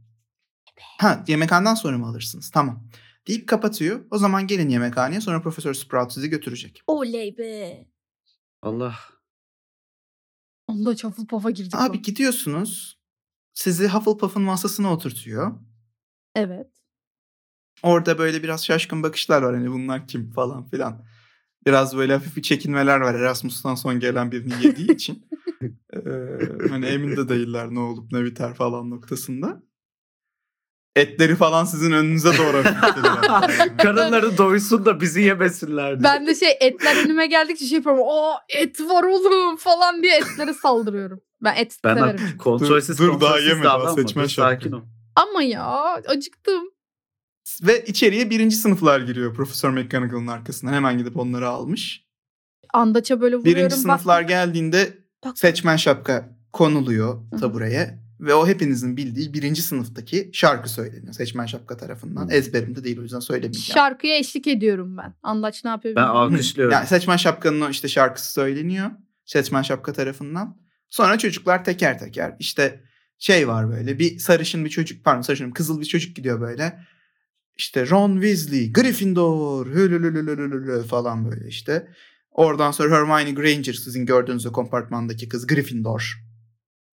Speaker 2: Ha yemekhaneden sonra mı alırsınız? Tamam. Deyip kapatıyor. O zaman gelin yemekhaneye sonra Profesör Sprout sizi götürecek.
Speaker 3: Oley be.
Speaker 4: Allah.
Speaker 3: Onda Hufflepuff'a girdik.
Speaker 2: Abi
Speaker 3: lan.
Speaker 2: gidiyorsunuz. Sizi Hufflepuff'un masasına oturtuyor.
Speaker 3: Evet.
Speaker 2: Orada böyle biraz şaşkın bakışlar var. Hani bunlar kim falan filan. Biraz böyle hafif bir çekinmeler var. Erasmus'tan son gelen birini yediği için. Ee, hani emin de değiller ne olup ne biter falan noktasında. Etleri falan sizin önünüze doğru hafiflediler.
Speaker 4: Karınları doysun da bizi yemesinler diye.
Speaker 3: Ben de şey etler önüme geldikçe şey yapıyorum. Aa et var oğlum falan diye etlere saldırıyorum. Ben et
Speaker 4: Ben
Speaker 3: severim.
Speaker 4: artık kontrolsüz
Speaker 2: Dur- dur, daha
Speaker 4: kontrolsüz
Speaker 2: yeme, daha
Speaker 4: davranma. Dur,
Speaker 2: seçmen
Speaker 4: Sakin ol.
Speaker 2: şarkı.
Speaker 3: Ama ya acıktım.
Speaker 2: Ve içeriye birinci sınıflar giriyor Profesör McGonagall'ın arkasından. Hemen gidip onları almış.
Speaker 3: Andaça böyle vuruyorum.
Speaker 2: Birinci sınıflar
Speaker 3: bak,
Speaker 2: geldiğinde
Speaker 3: bak.
Speaker 2: seçmen şapka konuluyor
Speaker 3: Hı.
Speaker 2: tabureye. Ve o hepinizin bildiği birinci sınıftaki şarkı söyleniyor. Seçmen şapka tarafından.
Speaker 4: Hı.
Speaker 2: Ezberimde değil o yüzden söylemeyeceğim.
Speaker 3: Şarkıya eşlik ediyorum ben. Andaç ne (laughs) yapıyor
Speaker 4: Ben
Speaker 3: bilmiyorum.
Speaker 4: alkışlıyorum.
Speaker 2: Yani seçmen şapkanın o işte şarkısı söyleniyor. Seçmen şapka tarafından. Sonra çocuklar teker teker işte şey var böyle bir sarışın bir çocuk pardon sarışın kızıl bir çocuk gidiyor böyle. İşte Ron Weasley, Gryffindor, hülülülülülülü falan böyle işte. Oradan sonra Hermione Granger sizin gördüğünüz o kompartmandaki kız Gryffindor.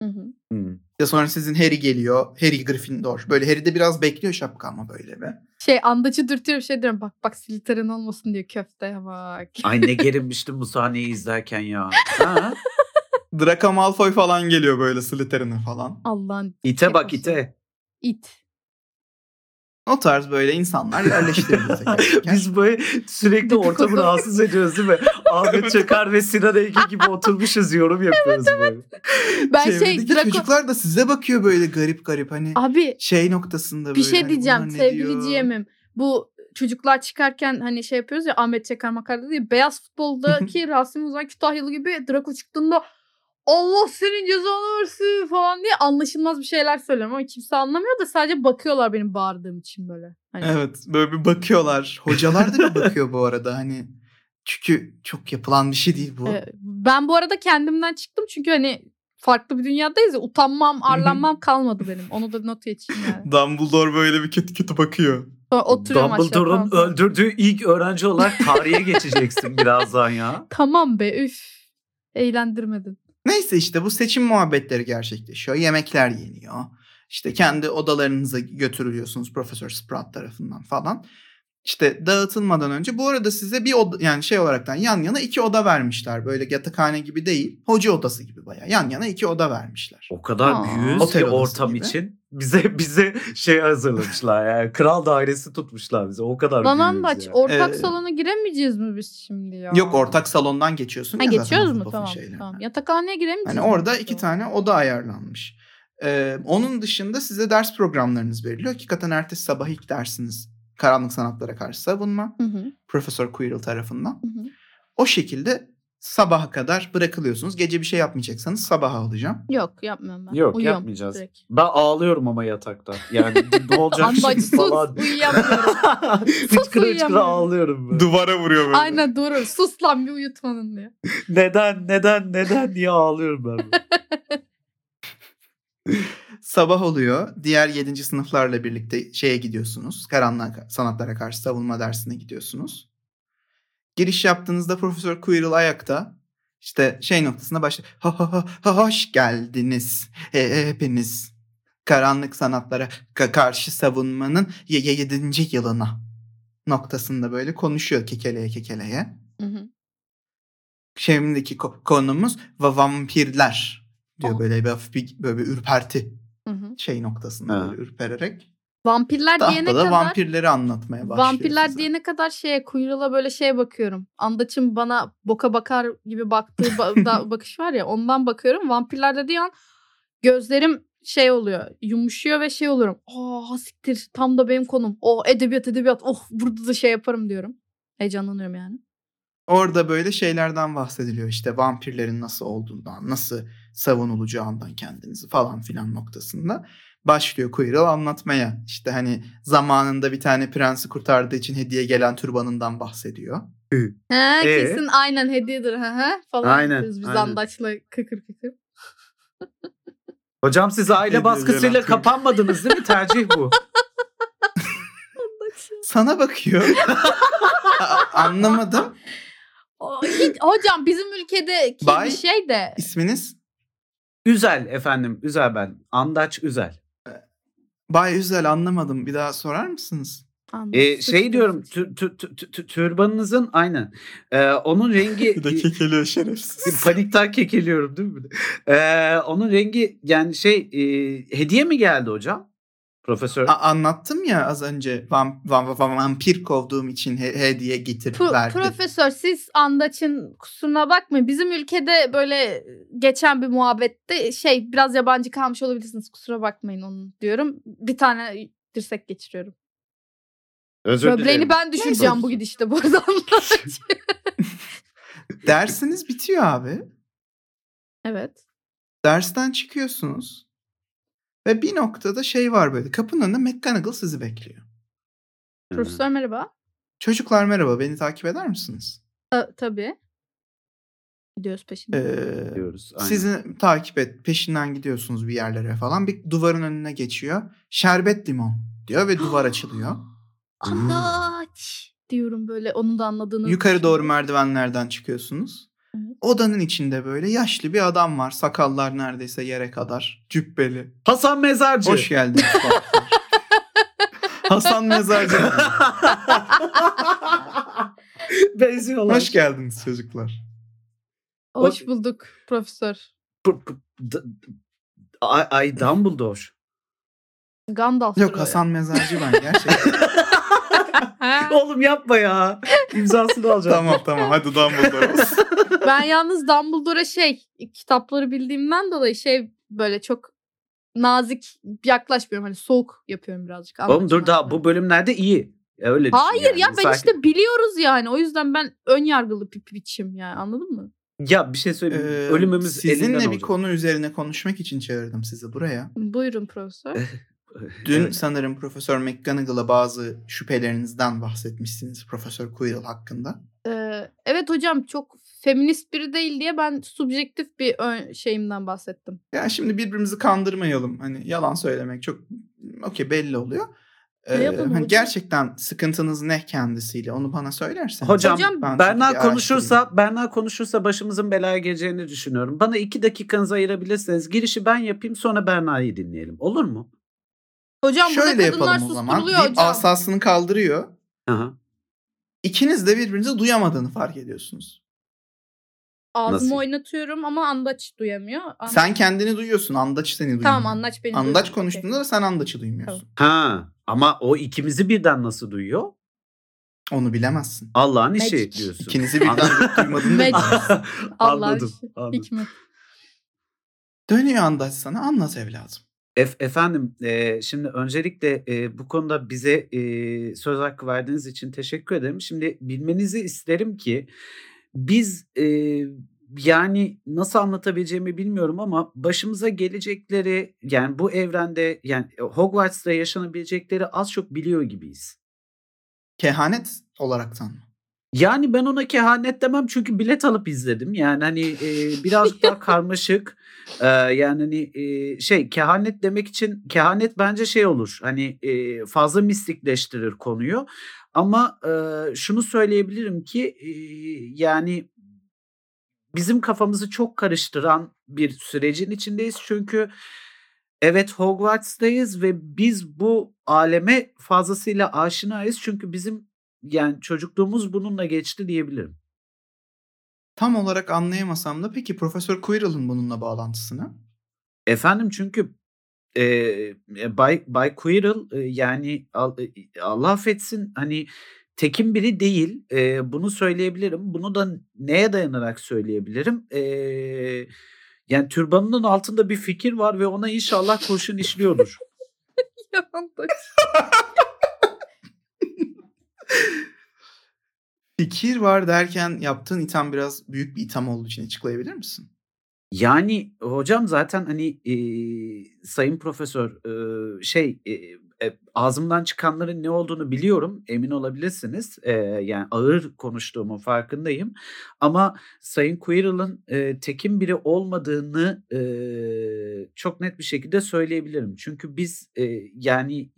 Speaker 3: Hı hı.
Speaker 4: Hı.
Speaker 2: Ya sonra sizin Harry geliyor. Harry Gryffindor. Böyle Harry de biraz bekliyor şapka ama böyle be.
Speaker 3: Şey andaçı dürtüyorum şey diyorum bak bak siliteren olmasın diyor köfteye bak.
Speaker 4: Ay ne gerinmiştim bu sahneyi izlerken ya. Ha?
Speaker 2: Draco Malfoy falan geliyor böyle Slytherin'e falan.
Speaker 3: Allah'ın
Speaker 4: İte bak ite.
Speaker 3: it.
Speaker 2: O tarz böyle insanlar yerleştiriliyor teker teker.
Speaker 4: Biz böyle sürekli ortamı rahatsız ediyoruz değil mi? Ahmet Çakar ve Sinan Ege gibi oturmuşuz yorum yapıyoruz böyle.
Speaker 3: Ben şey
Speaker 2: Çevredeki
Speaker 3: Draco...
Speaker 2: çocuklar da size bakıyor böyle garip garip hani
Speaker 3: Abi
Speaker 2: şey noktasında böyle.
Speaker 3: bir şey
Speaker 2: hani
Speaker 3: diyeceğim
Speaker 2: bunlar ne
Speaker 3: sevgili
Speaker 2: diyor?
Speaker 3: GM'im. Bu çocuklar çıkarken hani şey yapıyoruz ya Ahmet Çakar makarada diye
Speaker 2: (laughs)
Speaker 3: beyaz futboldaki Rasim Ozan Kütahyalı gibi Draco çıktığında Allah senin cezanı versin falan diye anlaşılmaz bir şeyler söylüyorum ama kimse anlamıyor da sadece bakıyorlar benim bağırdığım için böyle. Hani
Speaker 2: Evet böyle bir bakıyorlar. Hocalar da bir bakıyor bu arada hani. Çünkü çok yapılan bir şey değil bu.
Speaker 3: Ee, Ben bu arada kendimden çıktım çünkü hani farklı bir dünyadayız ya utanmam, arlanmam kalmadı benim. Onu da not geçeyim yani.
Speaker 2: Dumbledore böyle bir kötü kötü bakıyor. (laughs)
Speaker 3: Sonra oturuyorum aşağı
Speaker 4: Dumbledore'un
Speaker 3: falan.
Speaker 4: öldürdüğü ilk öğrenci olarak tarihe geçeceksin birazdan ya.
Speaker 3: Tamam be üf. Eğlendirmedin.
Speaker 2: Neyse işte bu seçim muhabbetleri gerçekleşiyor. Yemekler yeniyor. İşte kendi odalarınıza götürülüyorsunuz Profesör Sprout tarafından falan. İşte dağıtılmadan önce bu arada size bir oda, yani şey olaraktan yan yana iki oda vermişler. Böyle yatakhane gibi değil. Hoca odası gibi bayağı. Yan yana iki oda vermişler.
Speaker 4: O kadar
Speaker 3: Aa.
Speaker 4: büyüğüz
Speaker 2: Otel
Speaker 4: ki
Speaker 2: odası
Speaker 4: ortam
Speaker 2: gibi.
Speaker 4: için. Bize bize şey hazırlamışlar yani. Kral dairesi tutmuşlar bize. O kadar
Speaker 3: Lan
Speaker 4: büyüğüz
Speaker 3: Andaç
Speaker 4: ya.
Speaker 3: ortak
Speaker 2: Ee,
Speaker 3: salona giremeyeceğiz mi biz şimdi ya?
Speaker 2: Yok ortak salondan geçiyorsun.
Speaker 3: Ha
Speaker 2: ya zaten
Speaker 3: geçiyoruz mu?
Speaker 2: Hufflepuff'un
Speaker 3: Tamam.
Speaker 2: şeylerinden.
Speaker 3: tamam. Yatakhaneye giremeyeceğiz.
Speaker 2: Hani
Speaker 3: mi
Speaker 2: orada
Speaker 3: biz
Speaker 2: iki
Speaker 3: o?
Speaker 2: tane oda ayarlanmış. Ee, onun dışında size ders programlarınız veriliyor. Hakikaten ertesi sabah ilk dersiniz karanlık sanatlara karşı savunma.
Speaker 3: Hı hı,
Speaker 2: Profesör Quirrell tarafından.
Speaker 3: hı hı.
Speaker 2: O şekilde sabaha kadar bırakılıyorsunuz. Gece bir şey yapmayacaksanız sabaha alacağım.
Speaker 3: Yok yapmıyorum ben.
Speaker 4: Yok,
Speaker 3: Uyuyorum
Speaker 4: yapmayacağız.
Speaker 3: direkt.
Speaker 4: Ben ağlıyorum ama yatakta. Yani ne olacak
Speaker 3: Andaç
Speaker 4: şimdi şey falan.
Speaker 3: sus uyuyamıyorum.
Speaker 4: (laughs) hıçkıra hıçkıra
Speaker 3: uyuyamıyorum.
Speaker 4: ağlıyorum ben.
Speaker 2: Duvara vuruyor böyle.
Speaker 3: Aynen doğru. Sus lan bir uyutmanın diye.
Speaker 4: Neden neden neden diye ağlıyorum ben.
Speaker 2: Sabah oluyor. Diğer 7. sınıflarla birlikte şeye gidiyorsunuz. Karanlık sanatlara karşı savunma dersine gidiyorsunuz. Giriş yaptığınızda Profesör Quirrell ayakta. İşte şey noktasına başla. Ha ha ha, ha hoş geldiniz he- hepiniz. Karanlık sanatlara ka- karşı savunmanın 7. yılına noktasında böyle konuşuyor kekeleye kekeleye.
Speaker 3: Hı hı.
Speaker 2: Şimdiki ko- konumuz va- vampirler diyor
Speaker 3: Aa.
Speaker 2: böyle bir hafif bir, böyle bir ürperti
Speaker 3: Hı hı.
Speaker 2: şey noktasında
Speaker 4: Ha.
Speaker 2: böyle ürpererek
Speaker 3: Vampirler diyene
Speaker 2: tahtada
Speaker 3: kadar...
Speaker 2: vampirleri anlatmaya başlıyor.
Speaker 3: Vampirler
Speaker 2: size.
Speaker 3: diyene kadar şeye kuyruğla böyle şeye bakıyorum. Andaç'ın bana boka bakar gibi baktığı
Speaker 4: (laughs)
Speaker 3: ba- da- bakış var ya ondan bakıyorum. Vampirler dediği an gözlerim şey oluyor yumuşuyor ve şey oluyorum. Aa siktir tam da benim konum. O edebiyat edebiyat oh burada da şey yaparım diyorum. Heyecanlanıyorum yani.
Speaker 2: Orada böyle şeylerden bahsediliyor işte vampirlerin nasıl olduğundan, nasıl savunulacağından kendinizi falan filan noktasında. Başlıyor Quirrell anlatmaya. İşte hani zamanında bir tane prensi kurtardığı için hediye gelen türbanından bahsediyor.
Speaker 3: He
Speaker 4: Ee?
Speaker 3: kesin aynen hediyedir ha ha falan.
Speaker 4: Aynen,
Speaker 3: diyoruz Biz
Speaker 4: aynen.
Speaker 3: Andaç'la kıkır kıkır.
Speaker 4: Hocam siz aile
Speaker 2: Nedir
Speaker 4: baskısıyla
Speaker 2: Ceren?
Speaker 4: kapanmadınız değil mi? Tercih bu.
Speaker 2: Sana bakıyor.
Speaker 3: (laughs)
Speaker 2: A- Anlamadım.
Speaker 3: Aa, hiç- hocam bizim ülkedeki
Speaker 2: Bay-
Speaker 3: bir şey de
Speaker 2: İsminiz?
Speaker 4: (laughs) Üzel efendim. Üzel ben. Andaç Üzel.
Speaker 2: Bay Üzel anlamadım. Bir daha sorar mısınız?
Speaker 3: Andaç,
Speaker 4: Ee, şey
Speaker 3: sıçtı.
Speaker 4: diyorum tü- tü- tü- tü- tü- türbanınızın aynen. Ee, onun
Speaker 3: (laughs)
Speaker 4: rengi
Speaker 2: kekeliyor şerefsiz.
Speaker 4: panikten kekeliyorum değil mi? Ee, onun rengi yani şey e, hediye mi e, geldi hocam? Profesör
Speaker 2: A- anlattım ya az önce vam- vam- vam- vampir kovduğum için he- hediye getirip
Speaker 3: Pro-
Speaker 2: verdi.
Speaker 3: profesör siz Andaç'ın kusuruna bakmayın. Bizim ülkede böyle geçen bir muhabbette şey biraz yabancı kalmış olabilirsiniz. Kusura bakmayın onun diyorum. Bir tane dirsek geçiriyorum.
Speaker 4: özür dilerim.
Speaker 3: Böbreğini ben düşüreceğim
Speaker 2: Neyse.
Speaker 3: bugün işte bu arada Andaç.
Speaker 2: Dersiniz bitiyor abi.
Speaker 3: (laughs) evet.
Speaker 2: Dersten çıkıyorsunuz. Ve bir noktada şey var böyle. Kapının önünde McGonagall sizi bekliyor.
Speaker 4: Hı.
Speaker 3: Profesör merhaba.
Speaker 2: Çocuklar merhaba beni takip eder misiniz?
Speaker 3: Ta- tabii. Gidiyoruz peşinden.
Speaker 2: Ee,
Speaker 4: diyoruz. aynen.
Speaker 2: sizi takip et. Peşinden gidiyorsunuz bir yerlere falan. Bir duvarın önüne geçiyor. Şerbet limon diyor ve Ee, duvar açılıyor.
Speaker 3: Andaç diyorum böyle onun da anladığını.
Speaker 2: Yukarı doğru
Speaker 3: düşünüyorum.
Speaker 2: merdivenlerden çıkıyorsunuz.
Speaker 3: Evet.
Speaker 2: Odanın içinde böyle yaşlı bir adam var. Sakallar neredeyse yere kadar. Cübbeli.
Speaker 4: Hasan Mezarcı. (laughs)
Speaker 2: Hoş geldiniz. Fuat. Hasan Mezarcı.
Speaker 4: Benziyorlar.
Speaker 2: Hoş geldiniz çocuklar.
Speaker 3: Hoş bulduk profesör.
Speaker 4: P- p- d- Ay, ay Dumbledore.
Speaker 3: Gandalf.
Speaker 2: Yok Hasan Mezarcı ben
Speaker 4: (laughs)
Speaker 2: gerçekten.
Speaker 4: Oğlum yapma ya.
Speaker 2: (laughs)
Speaker 4: İmzasını alacağım.
Speaker 2: tamam tamam hadi Dumbledore
Speaker 4: (laughs)
Speaker 2: olsun.
Speaker 3: ben yalnız Dumbledore'a şey kitapları bildiğimden dolayı şey böyle çok nazik yaklaşmıyorum. Hani soğuk yapıyorum birazcık.
Speaker 4: Oğlum dur daha
Speaker 3: anlaşılmaz.
Speaker 4: bu bölümlerde iyi. Ya Öyle düşün
Speaker 3: Hayır
Speaker 4: yani.
Speaker 3: ya ben
Speaker 4: Sakin-
Speaker 3: işte biliyoruz yani. O yüzden ben ön yargılı bir biçim yani anladın mı?
Speaker 4: Ya bir şey
Speaker 2: Ee,
Speaker 4: söyleyeyim. Ölümümüz elinden
Speaker 2: Sizinle bir
Speaker 4: olacak.
Speaker 2: konu üzerine konuşmak için çağırdım sizi buraya.
Speaker 3: Buyurun
Speaker 4: Eh.
Speaker 3: profesör.
Speaker 2: Dün
Speaker 4: Ee, Evet.
Speaker 2: sanırım Profesör McGonagall'a bazı şüphelerinizden bahsetmişsiniz Profesör Quirrell hakkında.
Speaker 3: Ee, evet hocam çok feminist biri değil diye ben subjektif bir ön şeyimden bahsettim.
Speaker 2: Ya şimdi birbirimizi kandırmayalım. Hani yalan söylemek çok okey belli oluyor. Ee,
Speaker 3: yapalım
Speaker 2: hani
Speaker 3: hocam?
Speaker 2: gerçekten sıkıntınız ne kendisiyle onu bana söylerseniz.
Speaker 4: Hocam,
Speaker 3: Hocam,
Speaker 2: ben tabii
Speaker 4: Berna
Speaker 2: bir araştırayım.
Speaker 4: konuşursa Berna konuşursa başımızın belaya gireceğini düşünüyorum. Bana iki dakikanızı ayırabilirseniz girişi ben yapayım sonra Berna'yı dinleyelim. Olur mu?
Speaker 3: Hocam
Speaker 2: şöyle
Speaker 3: burada kadınlar
Speaker 2: yapalım o zaman.
Speaker 3: susturuluyor
Speaker 2: Deyip
Speaker 3: hocam.
Speaker 2: asasını kaldırıyor.
Speaker 4: Aha.
Speaker 2: İkiniz de birbirinizi duyamadığını fark ediyorsunuz.
Speaker 3: Ağzımı
Speaker 4: Nasıl?
Speaker 3: oynatıyorum ama andaç duyamıyor. Andaç-
Speaker 2: Sen kendini duyuyorsun. Andaç seni duyuyor.
Speaker 3: Tamam andaç beni duyuyor.
Speaker 2: Andaç
Speaker 3: Okey.
Speaker 2: konuştuğunda da sen andaçı duymuyorsun.
Speaker 4: Ha. Ama o ikimizi birden nasıl duyuyor?
Speaker 2: Onu bilemezsin.
Speaker 4: Allah'ın işi
Speaker 3: Magic.
Speaker 4: diyorsun.
Speaker 2: İkinizi birden
Speaker 3: (laughs)
Speaker 2: duymadığını da
Speaker 3: Magic.
Speaker 2: bilemezsin.
Speaker 3: Allah'ın
Speaker 4: (laughs) Anladım,
Speaker 3: işi.
Speaker 4: anladım.
Speaker 2: (laughs)
Speaker 3: Hikmet. (laughs)
Speaker 2: Dönüyor Andaç sana anlat evladım.
Speaker 4: Ef- efendim e, şimdi öncelikle e, bu konuda bize e, söz hakkı verdiğiniz için teşekkür ederim. Şimdi bilmenizi isterim ki biz e, yani nasıl anlatabileceğimi bilmiyorum ama başımıza gelecekleri yani bu evrende yani Hogwarts'ta yaşanabilecekleri az çok biliyor gibiyiz.
Speaker 2: Kehanet olaraktan mı?
Speaker 4: Yani ben ona kehanet demem çünkü bilet alıp izledim. Yani hani e, birazcık daha karmaşık. E, yani hani e, şey kehanet demek için kehanet bence şey olur. Hani e, fazla mistikleştirir konuyu. Ama e, şunu söyleyebilirim ki e, yani bizim kafamızı çok karıştıran bir sürecin içindeyiz. Çünkü evet Hogwarts'tayız ve biz bu aleme fazlasıyla aşinayız. Çünkü bizim yani çocukluğumuz bununla geçti diyebilirim.
Speaker 2: Tam olarak anlayamasam da peki Profesör Quirrell'ın bununla bağlantısını?
Speaker 4: Efendim çünkü e, e, Bay, Bay Quirrell e, yani al- e, Allah affetsin hani tekin biri değil. E, bunu söyleyebilirim. Bunu da neye dayanarak söyleyebilirim? E, yani türbanının altında bir fikir var ve ona inşallah kurşun işliyordur.
Speaker 3: Ya andaç.
Speaker 2: Fikir var derken yaptığın itham biraz büyük bir itham olduğu için açıklayabilir misin?
Speaker 4: Yani hocam zaten hani e, sayın profesör e, şey e, e, ağzımdan çıkanların ne olduğunu biliyorum emin olabilirsiniz. E, yani ağır konuştuğumun farkındayım. Ama sayın Quirrell'ın e, tekin biri olmadığını e, çok net bir şekilde söyleyebilirim. Çünkü biz e, yani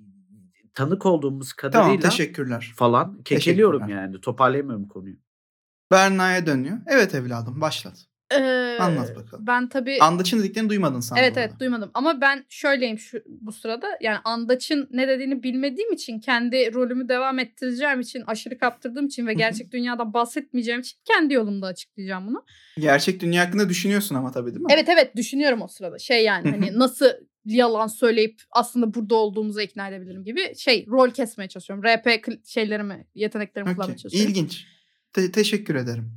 Speaker 4: tanık olduğumuz
Speaker 2: Tamam
Speaker 4: kadarıyla
Speaker 2: teşekkürler.
Speaker 4: falan kekeliyorum
Speaker 2: Teşekkürler.
Speaker 4: yani toparlayamıyorum konuyu.
Speaker 2: Berna'ya dönüyor. Evet evladım başlat.
Speaker 3: Ee,
Speaker 2: Anlat bakalım.
Speaker 3: Ben tabii
Speaker 2: Andaç'ın dediklerini duymadın sen
Speaker 3: E- Evet
Speaker 2: bu
Speaker 3: evet
Speaker 2: arada.
Speaker 3: duymadım ama ben şöyleyim şu bu sırada yani Andaç'ın ne dediğini bilmediğim için kendi rolümü devam ettireceğim için aşırı kaptırdığım için ve
Speaker 2: hı.
Speaker 3: gerçek dünyadan bahsetmeyeceğim için kendi yolumda açıklayacağım bunu.
Speaker 2: Gerçek dünya hakkında düşünüyorsun ama tabii değil mi?
Speaker 3: Evet evet düşünüyorum o sırada şey yani
Speaker 2: Hı hı.
Speaker 3: hani nasıl yalan söyleyip aslında burada olduğumuzu ikna edebilirim gibi şey rol kesmeye çalışıyorum. RP kl- şeylerimi, yeteneklerimi
Speaker 2: Okey,
Speaker 3: kullanmaya çalışıyorum.
Speaker 2: İlginç. Te- teşekkür ederim.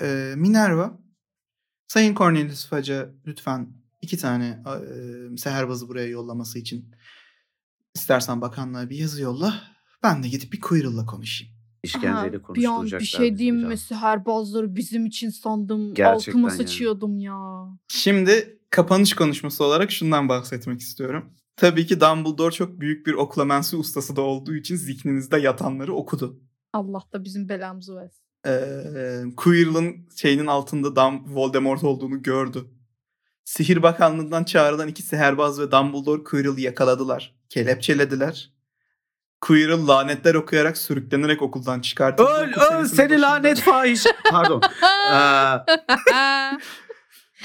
Speaker 2: Ee, Minerva, Sayın Cornelius Faca lütfen iki tane a- e, seherbazı buraya yollaması için istersen bakanlığa bir yazı yolla. Ben de gidip bir Quirrell'la konuşayım.
Speaker 4: İşkenceyle
Speaker 3: Aha, bir an
Speaker 4: konuşturacaklar.
Speaker 3: bir şey
Speaker 4: bizi
Speaker 3: diyeyim
Speaker 4: biraz.
Speaker 3: mi seherbazları bizim için sandım.
Speaker 4: Gerçekten
Speaker 3: Altıma
Speaker 4: yani.
Speaker 3: sıçıyordum ya.
Speaker 2: Şimdi kapanış konuşması olarak şundan bahsetmek istiyorum. Tabii ki Dumbledore çok büyük bir oklamensi ustası da olduğu için zihninizde yatanları okudu.
Speaker 3: Allah da bizim belamızı (laughs) versin.
Speaker 2: Ee, Quirrell'ın şeyinin altında Dam Voldemort olduğunu gördü. Sihir Bakanlığı'ndan çağrılan iki seherbaz ve Dumbledore Quirrell'ı yakaladılar. Kelepçelediler. Quirrell lanetler okuyarak sürüklenerek okuldan çıkartıldı.
Speaker 4: Öl
Speaker 2: Okul
Speaker 4: öl
Speaker 2: senesinin
Speaker 4: seni
Speaker 2: başında- (laughs)
Speaker 4: lanet fahiş. Pardon. Aa,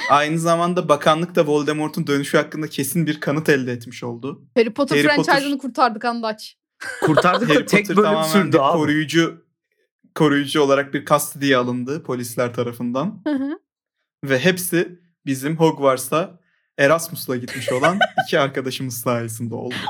Speaker 2: Aynı zamanda bakanlık da Voldemort'un dönüşü hakkında kesin bir kanıt elde etmiş oldu.
Speaker 3: Harry Potter
Speaker 2: Harry Potter-
Speaker 3: franchise'ını kurtardık Andaç.
Speaker 4: kurtardık
Speaker 2: Harry
Speaker 4: da tek
Speaker 2: Potter
Speaker 4: bölüm
Speaker 2: tamamen
Speaker 4: sürdü
Speaker 2: bir
Speaker 4: abi.
Speaker 2: koruyucu koruyucu olarak bir kastidiye alındı polisler tarafından.
Speaker 3: Hı hı.
Speaker 2: Ve hepsi bizim Hogwarts'a Erasmus'la gitmiş olan iki arkadaşımız sayesinde oldu.
Speaker 3: (laughs)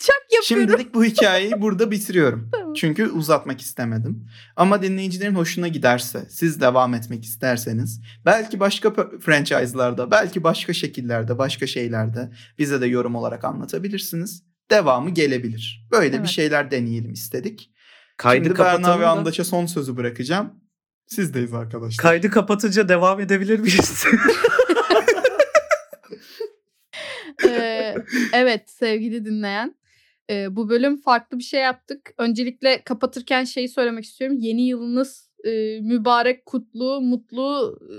Speaker 3: Çak yapıyorum.
Speaker 2: Şimdilik bu hikayeyi burada bitiriyorum.
Speaker 3: Tamam.
Speaker 2: Çünkü uzatmak istemedim. Ama dinleyicilerin hoşuna giderse, siz devam etmek isterseniz, belki başka p- franchise'larda, belki başka şekillerde, başka şeylerde bize de yorum olarak anlatabilirsiniz. Devamı gelebilir. Böyle bir
Speaker 3: Evet.
Speaker 2: şeyler deneyelim istedik.
Speaker 4: Kaydı
Speaker 2: Şimdi Berna
Speaker 4: kapatalım
Speaker 2: ve
Speaker 4: da-
Speaker 2: Andaç'a son sözü bırakacağım. Sizdeyiz arkadaşlar.
Speaker 4: Kaydı kapatınca devam edebilir miyiz?
Speaker 3: Ee, evet sevgili dinleyen. Ee, bu bölüm farklı bir şey yaptık. Öncelikle kapatırken şeyi söylemek istiyorum. Yeni yılınız e, mübarek, kutlu, mutlu, e,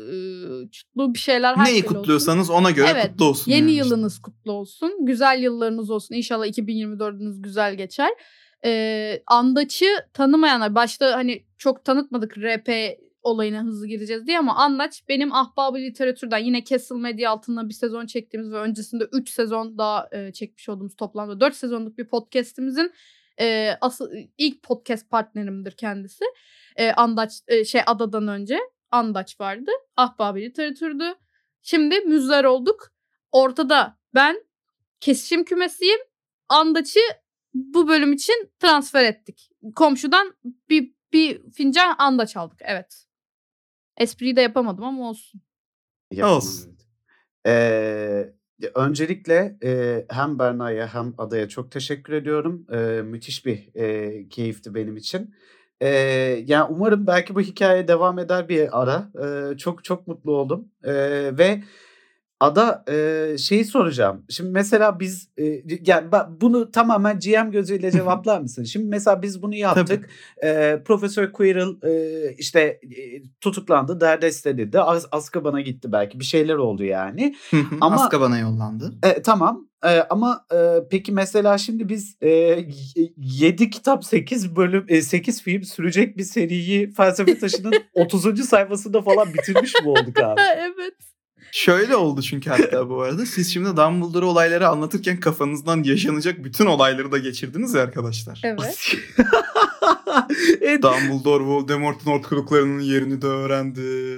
Speaker 3: çutlu bir şeyler. her
Speaker 2: Neyi
Speaker 3: türlü olsun.
Speaker 2: kutluyorsanız ona göre
Speaker 3: Evet,
Speaker 2: kutlu olsun.
Speaker 3: Yeni
Speaker 2: yani işte.
Speaker 3: yılınız kutlu olsun. Güzel yıllarınız olsun. İnşallah 2024'ünüz güzel geçer. Ee, Andaç'ı tanımayanlar başta hani çok tanıtmadık RP olayına hızlı gireceğiz diye ama Andaç benim ahbabı literatürden yine Castle altında bir sezon çektiğimiz ve öncesinde 3 sezon daha e, çekmiş olduğumuz toplamda 4 sezonluk bir podcast'imizin e, asıl ilk podcast partnerimdir kendisi. E, Andaç e, şey adadan önce Andaç vardı. Ahbabı literatürdü. Şimdi müzler olduk ortada ben kesişim kümesiyim. Andaç'ı bu bölüm için transfer ettik. Komşudan bir, bir fincan andaç aldık. Evet. Espriyi de yapamadım ama olsun.
Speaker 4: (laughs) Yapalım,
Speaker 2: Olsun.
Speaker 4: evet. Ee, ya öncelikle e, hem Berna'ya hem Ada'ya çok teşekkür ediyorum. Ee, müthiş bir e, keyifti benim için. Ee, yani umarım belki bu hikaye devam eder bir ara. Ee, çok çok mutlu oldum. Ee, ve Ada e, şeyi soracağım. Şimdi mesela biz e, yani ba- bunu tamamen GM gözüyle cevaplar mısın? Şimdi mesela biz bunu yaptık. E, Profesör Quirrell e, işte e, tutuklandı, derdest edildi. Az, Azkaban'a gitti belki. Bir şeyler oldu yani.
Speaker 2: Hı hı,
Speaker 4: Ama-
Speaker 2: Azkaban'a yollandı.
Speaker 4: E, tamam. E, ama e, peki mesela şimdi biz e, 7 kitap 8 bölüm 8 film sürecek bir seriyi
Speaker 2: (laughs)
Speaker 4: Felsefe Taşı'nın 30. sayfasında falan bitirmiş mi olduk abi?
Speaker 3: evet.
Speaker 2: Şöyle oldu çünkü hatta bu arada. Siz şimdi Dumbledore olayları anlatırken kafanızdan yaşanacak bütün olayları da geçirdiniz ya arkadaşlar.
Speaker 3: Evet.
Speaker 4: E,
Speaker 2: Dumbledore Voldemort'un ortalıklarının yerini de öğrendi.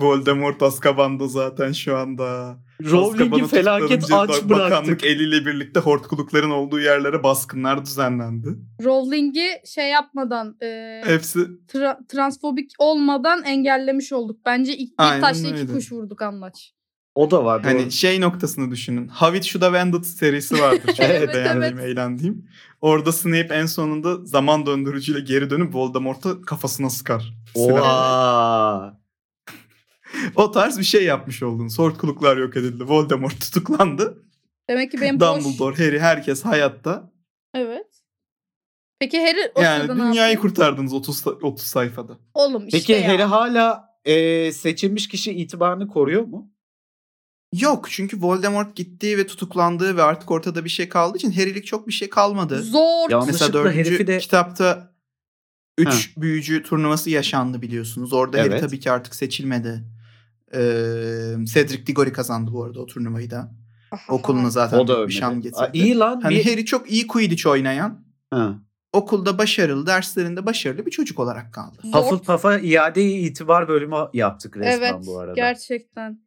Speaker 2: Voldemort Azkaban'da zaten şu anda.
Speaker 4: Rowling'i
Speaker 2: Azkaban'ı
Speaker 4: felaket
Speaker 2: tutuklanınca
Speaker 4: aç
Speaker 2: da-
Speaker 4: bıraktık.
Speaker 2: Bakanlık eliyle birlikte hortkulukların olduğu yerlere baskınlar düzenlendi.
Speaker 3: Rowling'i şey yapmadan e,
Speaker 2: Hepsi
Speaker 3: tra- transfobik olmadan engellemiş olduk. Bence ilk bir
Speaker 2: Aynen
Speaker 3: taşla iki
Speaker 2: öyle.
Speaker 3: kuş vurduk anlaç.
Speaker 4: O da var. doğru.
Speaker 2: Hani şey noktasını düşünün. How It Should Have Ended serisi
Speaker 3: (laughs)
Speaker 2: vardır. Çok
Speaker 4: Evet,
Speaker 2: beğendiğim,
Speaker 3: evet.
Speaker 2: eğlendiğim. Orada Snape en sonunda zaman döndürücüyle geri dönüp Voldemort'a kafasına sıkar. Silah.
Speaker 4: Oha.
Speaker 2: O tarz bir şey yapmış oldun. Sortkuluklar yok edildi. Voldemort tutuklandı.
Speaker 3: Demek ki benim boş.
Speaker 2: Dumbledore, Harry herkes hayatta.
Speaker 3: Evet. Peki Harry o
Speaker 2: yani
Speaker 3: sırada ne
Speaker 2: dünyayı
Speaker 3: yapıyor?
Speaker 2: kurtardınız 30, sa- 30 sayfada.
Speaker 3: Oğlum işte
Speaker 4: Peki
Speaker 3: ya.
Speaker 4: Harry hala e, seçilmiş kişi itibarını koruyor mu?
Speaker 2: Yok çünkü Voldemort gittiği ve tutuklandığı ve artık ortada bir şey kaldığı için Harry'lik çok bir şey kalmadı.
Speaker 3: Zor.
Speaker 4: Yalnız-
Speaker 2: Mesela
Speaker 4: Yanlışlıkla herifi
Speaker 2: dördüncü
Speaker 4: de-
Speaker 2: kitapta 3
Speaker 4: Ha.
Speaker 2: büyücü turnuvası yaşandı biliyorsunuz. Orada Harry
Speaker 4: Evet.
Speaker 2: tabii ki artık seçilmedi. Ee, Cedric Diggory kazandı bu arada o turnuvayı da. Okuluna zaten
Speaker 4: O da
Speaker 2: bir
Speaker 4: ölmedi.
Speaker 2: şan
Speaker 4: Aa,
Speaker 2: getirdi.
Speaker 4: iyi lan.
Speaker 2: hani
Speaker 4: bir-
Speaker 2: Harry çok iyi Quidditch oynayan,
Speaker 4: Ha.
Speaker 2: okulda başarılı, derslerinde başarılı bir çocuk olarak kaldı.
Speaker 3: Zor.
Speaker 4: Hufflepuff'a iade itibar bölümü yaptık resmen
Speaker 3: evet,
Speaker 4: bu arada.
Speaker 3: gerçekten.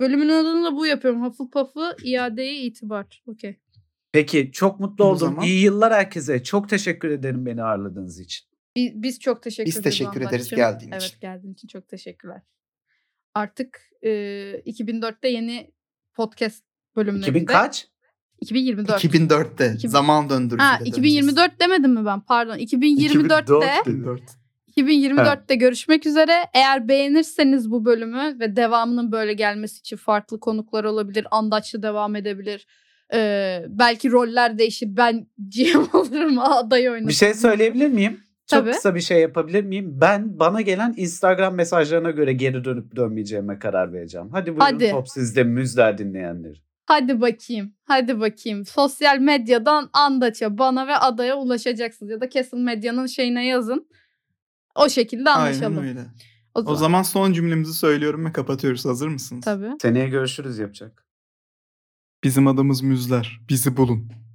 Speaker 3: Bölümün adını da bu yapıyorum. Hufflepuff'ı iadeye itibar. Okey.
Speaker 4: Peki çok mutlu
Speaker 2: O
Speaker 4: oldum.
Speaker 2: zaman-
Speaker 4: İyi yıllar herkese. Çok teşekkür ederim beni ağırladığınız için.
Speaker 3: Bi- Biz, çok teşekkür
Speaker 2: Biz
Speaker 3: ederiz.
Speaker 2: teşekkür ederiz
Speaker 3: Andaç'cığım.
Speaker 2: geldiğin için.
Speaker 3: Evet geldiğin için çok teşekkürler. Artık e, 2004'te yeni podcast bölümlerinde.
Speaker 4: 2000 kaç?
Speaker 3: 2024.
Speaker 2: 2004'te.
Speaker 3: İki-
Speaker 2: Zaman döndürücü.
Speaker 3: ha 2024 demedim mi ben? Pardon. 2024'te
Speaker 4: 2004.
Speaker 2: 2004.
Speaker 3: 2024'te görüşmek üzere. Eğer beğenirseniz bu bölümü ve devamının böyle gelmesi için farklı konuklar olabilir. Andaçlı devam edebilir. Ee, belki roller değişir. Ben (laughs) GM olurum. Aday oynarım.
Speaker 4: Bir şey söyleyebilir miyim? Çok
Speaker 3: Tabii.
Speaker 4: kısa bir şey yapabilir miyim? Ben bana gelen Instagram mesajlarına göre geri dönüp dönmeyeceğime karar vereceğim. Hadi buyurun
Speaker 3: Hadi.
Speaker 4: top sizde müzler dinleyenleri.
Speaker 3: Hadi bakayım. Hadi bakayım. Sosyal medyadan Andaç'a, bana ve adaya ulaşacaksınız. Ya da Kesin Medya'nın şeyine yazın. O şekilde anlaşalım.
Speaker 2: Aynen öyle.
Speaker 3: O
Speaker 2: O zaman son cümlemizi söylüyorum ve kapatıyoruz. Hazır mısınız?
Speaker 3: Tabii.
Speaker 4: Seneye görüşürüz yapacak.
Speaker 2: Bizim adımız Müzler. Bizi bulun.